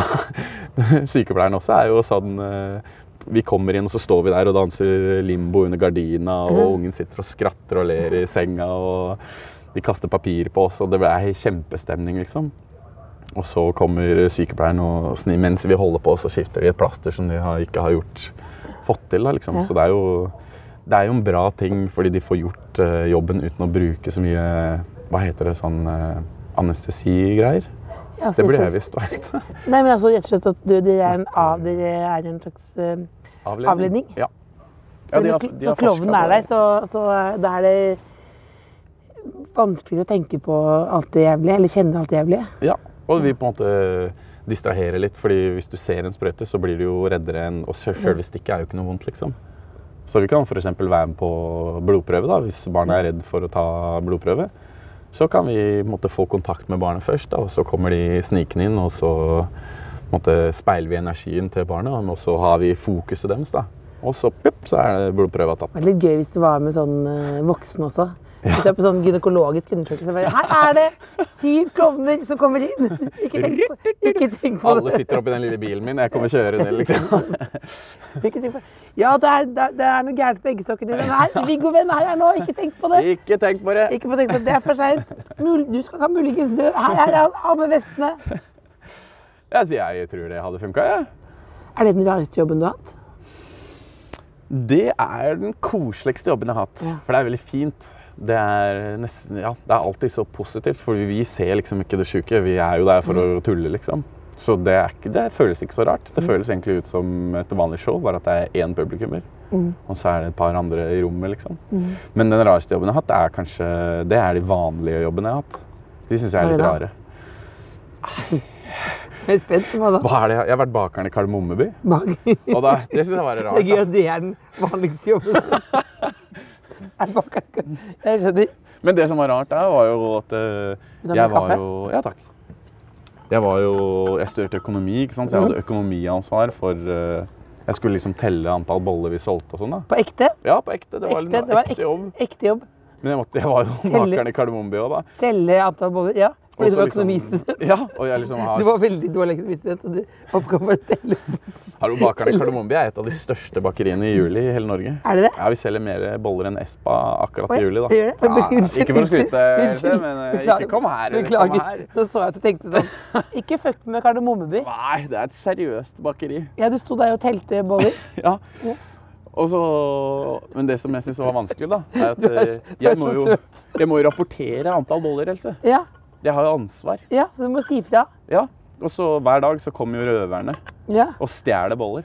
Speaker 4: *laughs* sykepleieren også er jo sånn eh, Vi kommer inn, og så står vi der og danser limbo under gardina, og ungen sitter og skratter og ler i senga, og de kaster papir på oss, og det er kjempestemning, liksom. Og så kommer sykepleieren, og sni- mens vi holder på, så skifter de et plaster som de har, ikke har gjort, fått til. Da, liksom. Så det er, jo, det er jo en bra ting, fordi de får gjort eh, jobben uten å bruke så mye Hva heter det? Sånn eh, anestesigreier?
Speaker 3: Altså,
Speaker 4: Det ble
Speaker 3: så-
Speaker 4: jeg visst. hva *laughs* heter det?
Speaker 3: Nei, men altså, rett og slett at du, dere er en, av, dere er en slags eh, Avledning?
Speaker 4: Ja. ja de har,
Speaker 3: Når-
Speaker 4: de har
Speaker 3: Når klovnen
Speaker 4: forsket
Speaker 3: er
Speaker 4: på
Speaker 3: der, så, så eh, da er det vanskeligere å tenke på alt det jævlige, eller kjenne alt det jævlige.
Speaker 4: Ja, og vi på en måte distraherer litt, fordi hvis du ser en sprøyte, så blir du jo reddere enn Og sel- selve stikket er jo ikke noe vondt, liksom. Så vi kan f.eks. være med på blodprøve, da, hvis barnet er redd for å ta blodprøve. Så kan vi på en måte, få kontakt med barnet først, da, og så kommer de snikende inn, og så på en måte, speiler vi energien til barnet, og så har vi fokuset deres, da. Og så, pjupp, så er det blodprøva tatt.
Speaker 3: Det var litt gøy hvis du var med sånn eh, voksen også. Hvis du er på sånn gynekologisk undersøkelse bare, Her er det syv klovner som kommer inn! *laughs* Ikke tenk på, ikke tenk på
Speaker 4: Alle
Speaker 3: det.
Speaker 4: sitter oppi den lille bilen min, jeg kommer kjørende, liksom.
Speaker 3: Ikke tenk på det. Ja, det er, det er- det er noe gærent på eggstokkene dine. Nei, Viggo venn, her er nå! Ikke tenk på det!
Speaker 4: Ikke tenk på det!
Speaker 3: Ikke på tenk på det. Det er for seint. Mul- Du skal kan muligens dø. Her er det han! Av med vestene!
Speaker 4: Jeg, jeg tror det hadde funka, jeg. Ja.
Speaker 3: Er det den rareste jobben du har hatt?
Speaker 4: Det er den koseligste jobben jeg har hatt.
Speaker 3: Ja.
Speaker 4: For det er veldig fint. Det er, nesten, ja, det er alltid så positivt, for vi ser liksom ikke det sjuke. Vi er jo der for
Speaker 3: Mm.
Speaker 4: å tulle, liksom. Så det, er ikke, det føles ikke så rart. Det føles egentlig ut som et vanlig show, bare at det er én publikummer.
Speaker 3: Mm.
Speaker 4: Og så er det et par andre i rommet, liksom. Men den rareste jobben jeg har hatt, er kanskje Det er de vanlige jobbene jeg har hatt. De syns jeg
Speaker 3: Hva
Speaker 4: er
Speaker 3: er
Speaker 4: litt
Speaker 3: det
Speaker 4: rare.
Speaker 3: Jeg er spent på hva da.
Speaker 4: Hva er det? Jeg har vært bakeren i Kardemommeby.
Speaker 3: Bak.
Speaker 4: Og da, det syns jeg var
Speaker 3: *laughs*
Speaker 4: rart.
Speaker 3: Det er gøy
Speaker 4: da.
Speaker 3: at det er den vanligste
Speaker 4: *laughs*
Speaker 3: jobben. Er det bak- Jeg skjønner.
Speaker 4: Men det som var rart der, var jo at eh,
Speaker 3: Vil du ha
Speaker 4: jeg
Speaker 3: mer
Speaker 4: var
Speaker 3: kaffe?
Speaker 4: jo Ja, takk. Jeg var jo Jeg studerte økonomi, ikke sant? så jeg
Speaker 3: Mhm.
Speaker 4: hadde økonomiansvar for eh, Jeg skulle liksom telle antall boller vi solgte og sånn, da.
Speaker 3: På ekte?
Speaker 4: Ja, på ekte. Det var,
Speaker 3: Ekte,
Speaker 4: en
Speaker 3: det var
Speaker 4: ekte
Speaker 3: ekte-
Speaker 4: jobb.
Speaker 3: Ekte jobb.
Speaker 4: Men jeg, måtte, jeg var jo
Speaker 3: Telle-
Speaker 4: bakeren i Kardemommeby òg, da.
Speaker 3: Telle antall boller. Ja,
Speaker 4: Og
Speaker 3: fordi du
Speaker 4: så
Speaker 3: var økonomistudent.
Speaker 4: Liksom, ja, og jeg liksom
Speaker 3: Du
Speaker 4: har,
Speaker 3: var veldig dårlig økonomistudent, og du oppgaven var å telle.
Speaker 4: har jo bakeren i Kardemommeby er et av de største bakeriene i juli i hele Norge.
Speaker 3: Er det det?
Speaker 4: Ja, Vi selger mer boller enn Espa akkurat
Speaker 3: Oi,
Speaker 4: i juli, da.
Speaker 3: gjør det? Oi,
Speaker 4: Ja,
Speaker 3: unnskyld,
Speaker 4: ikke for å
Speaker 3: unnskyld,
Speaker 4: skryte,
Speaker 3: unnskyld.
Speaker 4: men eh,
Speaker 3: Beklager.
Speaker 4: ikke kom her. eller Kom
Speaker 3: Beklager.
Speaker 4: her.
Speaker 3: Nå så jeg at du tenkte
Speaker 4: *laughs*
Speaker 3: sånn. Ikke fuck med Kardemommeby.
Speaker 4: Nei, det er et seriøst bakeri.
Speaker 3: Ja, du sto der og telte boller.
Speaker 4: *laughs* Ja. Og så, men det som jeg syns var vanskelig, da, er
Speaker 3: *laughs*
Speaker 4: at
Speaker 3: Du er-
Speaker 4: eh,
Speaker 3: du er
Speaker 4: jeg må,
Speaker 3: så
Speaker 4: jo,
Speaker 3: søt.
Speaker 4: jeg må jo rapportere antall boller, Else.
Speaker 3: Ja,
Speaker 4: Jeg har jo ansvar.
Speaker 3: ja, så du må si fra.
Speaker 4: Ja. Og så hver dag så kommer jo røverne
Speaker 3: Ja.
Speaker 4: og stjeler
Speaker 3: *laughs*
Speaker 4: boller.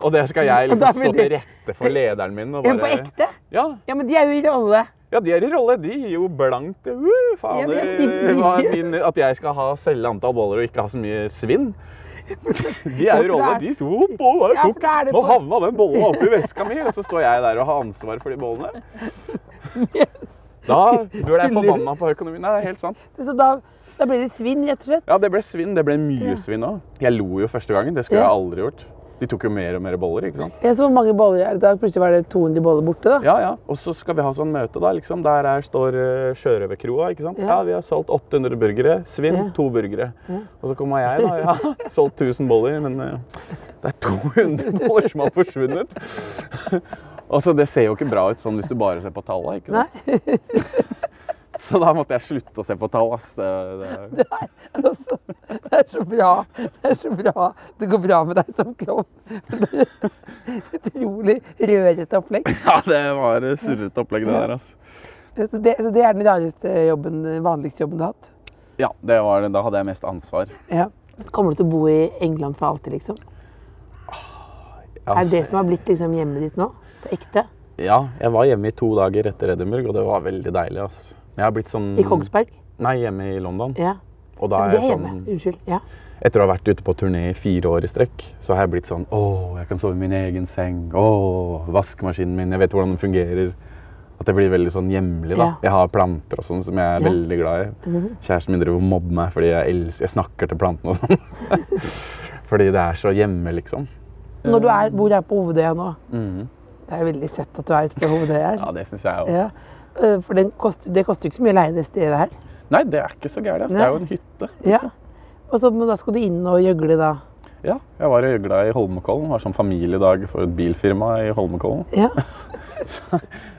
Speaker 4: Og det skal jeg
Speaker 3: Og da
Speaker 4: liksom
Speaker 3: blir
Speaker 4: stå til
Speaker 3: det-
Speaker 4: rette for lederen min. Og
Speaker 3: Men på
Speaker 4: bare,
Speaker 3: ekte?
Speaker 4: ja,
Speaker 3: Ja, men de er jo i rolle.
Speaker 4: ja, de er i rolle. De gir jo blankt uh,
Speaker 3: Ja,
Speaker 4: Fader,
Speaker 3: men jeg visste
Speaker 4: eh, hva er
Speaker 3: ikke.
Speaker 4: min, at jeg skal ha selge antall boller og ikke ha så
Speaker 3: *laughs*
Speaker 4: mye svinn. De er
Speaker 3: Ja,
Speaker 4: i
Speaker 3: for
Speaker 4: rolle.
Speaker 3: det
Speaker 4: De sto opp og
Speaker 3: Ja, for
Speaker 4: tok
Speaker 3: da er det
Speaker 4: Nå
Speaker 3: på-
Speaker 4: havna den bolla oppi veska mi, og så står jeg der og har ansvar for
Speaker 3: *laughs*
Speaker 4: de bollene. Da burde jeg forbanna på økonomien. Nei, det er helt sant.
Speaker 3: Så da, da blir det svinn, rett og slett.
Speaker 4: Ja, det ble svinn. Det ble mye svinn òg. Jeg lo jo første gangen. Det skulle
Speaker 3: Ja.
Speaker 4: jeg aldri gjort. De tok jo mer og mer boller, ikke sant.
Speaker 3: Jeg så hvor mange boller er det da. Plutselig var det 200 boller borte, da.
Speaker 4: Ja, ja. Og så skal vi ha sånn møte, da. liksom. Der er, står eh, sjørøverkroa. ikke sant?
Speaker 3: Ja.
Speaker 4: Ja. vi har solgt 800 burgere. Svinn to burgere. Og så kommer jeg, da.
Speaker 3: *laughs*
Speaker 4: Ja, solgt 1000 boller, men eh, det er
Speaker 3: *laughs*
Speaker 4: 200 boller som har forsvunnet. altså, det ser jo ikke bra ut sånn hvis du bare ser på tallene, ikke sant?
Speaker 3: Nei, *laughs*
Speaker 4: Så da måtte jeg slutte å se på tall, ass. Det,
Speaker 3: *laughs*
Speaker 4: det.
Speaker 3: altså, det er så bra. Det er så bra. Det går bra med deg som klovn. *laughs* Det er et utrolig rørete opplegg.
Speaker 4: Ja, det var et surrete opplegg, det der, ass.
Speaker 3: Så det, så det er den rareste jobben, vanligste jobben du har hatt.
Speaker 4: Ja, det var det. Da hadde jeg mest ansvar.
Speaker 3: Ja. Så kommer du til å bo i England for alltid, liksom?
Speaker 4: Altså,
Speaker 3: Er det det som har blitt liksom hjemmet ditt nå? På ekte?
Speaker 4: Ja, jeg var hjemme i to dager etter Edinburgh, og det var veldig deilig, ass. Men Jeg har blitt sånn...
Speaker 3: I Kongsberg?
Speaker 4: Nei, hjemme i London.
Speaker 3: Ja.
Speaker 4: Og da er
Speaker 3: Det er
Speaker 4: jeg
Speaker 3: hjemme.
Speaker 4: sånn,
Speaker 3: Unnskyld. Ja.
Speaker 4: etter å ha vært ute på turné i fire år i strekk, så har jeg blitt sånn Å, jeg kan sove i min egen seng. Å, vaskemaskinen min. Jeg vet hvordan den fungerer. At det blir veldig sånn hjemlig. da.
Speaker 3: Ja.
Speaker 4: Jeg har planter og sånn som jeg er
Speaker 3: Ja. Mhm.
Speaker 4: veldig glad i. Kjæresten min driver og mobber meg fordi jeg, els- jeg snakker til plantene og sånn. *laughs* fordi det er så hjemme, liksom.
Speaker 3: Når du er, bor her på Hovedøya nå
Speaker 4: Mhm.
Speaker 3: Det er jo veldig søtt at du er på Hovedøya her.
Speaker 4: Ja, det syns jeg òg.
Speaker 3: Ja. Eh, For den koster, det koster jo ikke så mye å leie det stedet her.
Speaker 4: Nei, det er ikke så gærent. ass. Det
Speaker 3: Nei.
Speaker 4: er jo en hytte.
Speaker 3: Ja.
Speaker 4: liksom.
Speaker 3: Og så, men da skal du inn og gjøgle, da.
Speaker 4: ja. Jeg var og gjøgla i Holmenkollen. Var sånn familiedag for et bilfirma i Holmenkollen.
Speaker 3: Ja.
Speaker 4: Så,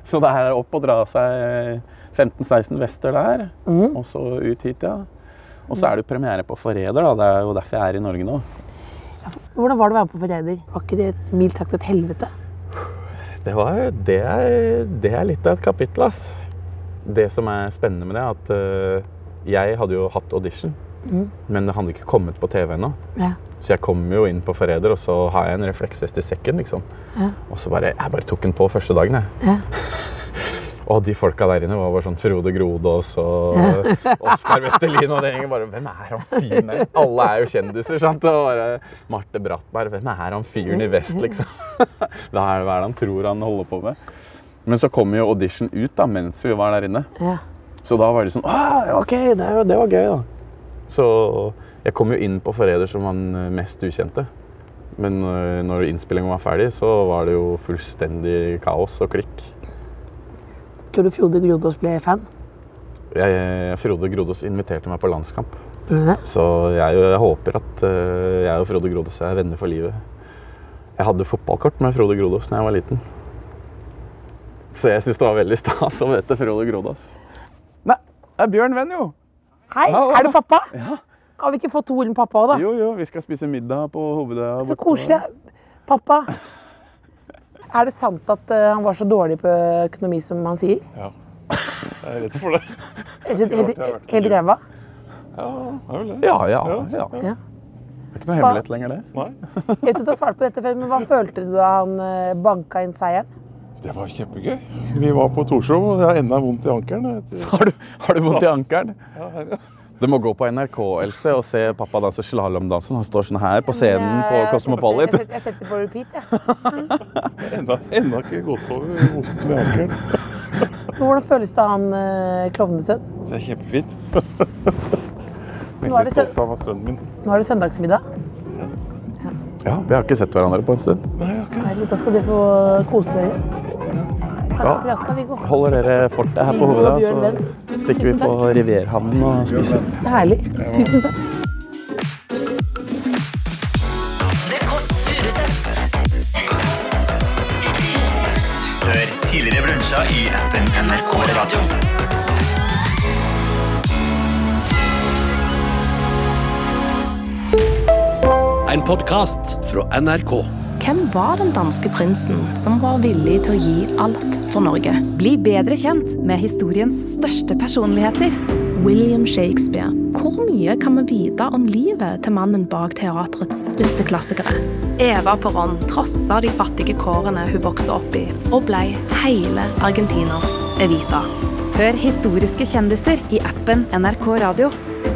Speaker 4: så det er opp og dra seg 15-16 vester der, og så ut hit, ja. Og så er det jo premiere på Forræder, da. Det er jo derfor jeg er i Norge nå.
Speaker 3: *laughs* Hvordan var det å være med på Forræder? Var ikke det et mildt sagt et helvete?
Speaker 4: Det, var, det, er, det er litt av et kapittel, ass. Det som er spennende med det, er at øh, jeg hadde jo hatt audition, men det hadde ikke kommet på TV ennå.
Speaker 3: Ja.
Speaker 4: Så jeg kom jo inn på Forræder, og så har jeg en refleksvest i sekken, liksom.
Speaker 3: Ja.
Speaker 4: Og så bare Jeg bare tok den på første dagen, jeg.
Speaker 3: Ja.
Speaker 4: *laughs* Og de folka der inne var bare sånn Frode Grodås og *laughs* Oskar Westerlin og det gjengen. Bare, Hvem er han fyren der? Alle er jo kjendiser, sant? Og bare Marte Brattberg. Hvem er han fyren i vest, liksom? *laughs* Da er det hva er det han tror han holder på med. Men så kom jo audition ut da, mens vi var der inne.
Speaker 3: Ja.
Speaker 4: Så da var det sånn «Ah, OK, det, er jo- det var gøy, da. Så jeg kom jo inn på Forræder som han mest ukjente. Men øh, når innspillingen var ferdig, så var det jo fullstendig kaos og klikk.
Speaker 3: Tror du Frode Grodås ble fan?
Speaker 4: Jeg, Frode Grodås inviterte meg på landskamp.
Speaker 3: Ble det?
Speaker 4: Så jeg, jeg håper at øh, jeg og Frode Grodås er venner for livet. Jeg hadde fotballkort med Frode Grodås da jeg var liten. Så jeg syns det var veldig stas å møte Frode Grodås. Nei, det er Bjørn Venn, jo!
Speaker 3: Hei,
Speaker 4: Ja, ja.
Speaker 3: er det pappa?
Speaker 4: Ja.
Speaker 3: Kan vi ikke få to ord med pappa òg, da?
Speaker 4: Jo, jo, vi skal spise middag på Hovedøya.
Speaker 3: Så
Speaker 4: borte.
Speaker 3: koselig. Pappa.
Speaker 4: *laughs*
Speaker 3: Er det sant at eh, han var så dårlig på økonomi som han sier?
Speaker 5: Ja. Jeg er redd for det.
Speaker 3: Helt
Speaker 5: har vært- jeg har vært
Speaker 3: helt- helt ræva?
Speaker 5: Ja, det er vel det.
Speaker 4: Ja, ja, ja.
Speaker 3: Ja.
Speaker 4: Det er ikke noe hemmelighet lenger, det.
Speaker 5: Nei,
Speaker 3: Jeg vet ikke om du har svart på dette før, men hva følte du da han eh, banka inn seieren?
Speaker 5: det var kjempegøy. Vi var på Torshov, og jeg har enda vondt i ankelen. etter-
Speaker 4: Har du, har du vondt i ankelen?
Speaker 5: Ja, her, ja.
Speaker 4: Du må gå på NRK, Else, og se pappa danse slalåmdansen. Han står sånn her på scenen på
Speaker 3: Jeg- jeg-
Speaker 4: Cosmopolit.
Speaker 3: Jeg, jeg setter på repeat, jeg.
Speaker 5: Enda, enda ikke gått over vondt i ankelen.
Speaker 3: Men Hvordan føles det han eh, klovnesønn?
Speaker 5: Det er kjempefint.
Speaker 3: Nå er det
Speaker 5: Veldig
Speaker 3: sø-
Speaker 5: stolt av han sønnen min.
Speaker 3: Nå er det søndagsmiddag.
Speaker 4: Ja, vi har ikke sett hverandre på en stund.
Speaker 5: Nei, jeg har ikke det.
Speaker 3: Herregud, Da skal dere få kose dere. Takk for praten, Viggo.
Speaker 4: Holder dere fortet her
Speaker 3: Vi
Speaker 4: på
Speaker 3: går
Speaker 4: hovedet,
Speaker 3: og gjør
Speaker 4: så stikker vi på Rivierhavnen og spiser.
Speaker 3: Det er herlig. Tusen takk.
Speaker 2: Det Kåss Furuseths.
Speaker 6: Hør tidligere brunsja i appen NRK Radio.
Speaker 1: En podkast fra NRK.
Speaker 7: Hvem var den danske prinsen som var villig til å gi alt for Norge?
Speaker 8: Bli bedre kjent med historiens største personligheter
Speaker 7: William Shakespeare. Hvor mye kan vi vite om livet til mannen bak teatrets største klassikere? Eva Perón trossa de fattige kårene hun vokste opp i, og ble hele Argentinas Evita.
Speaker 8: Hør historiske kjendiser i appen NRK Radio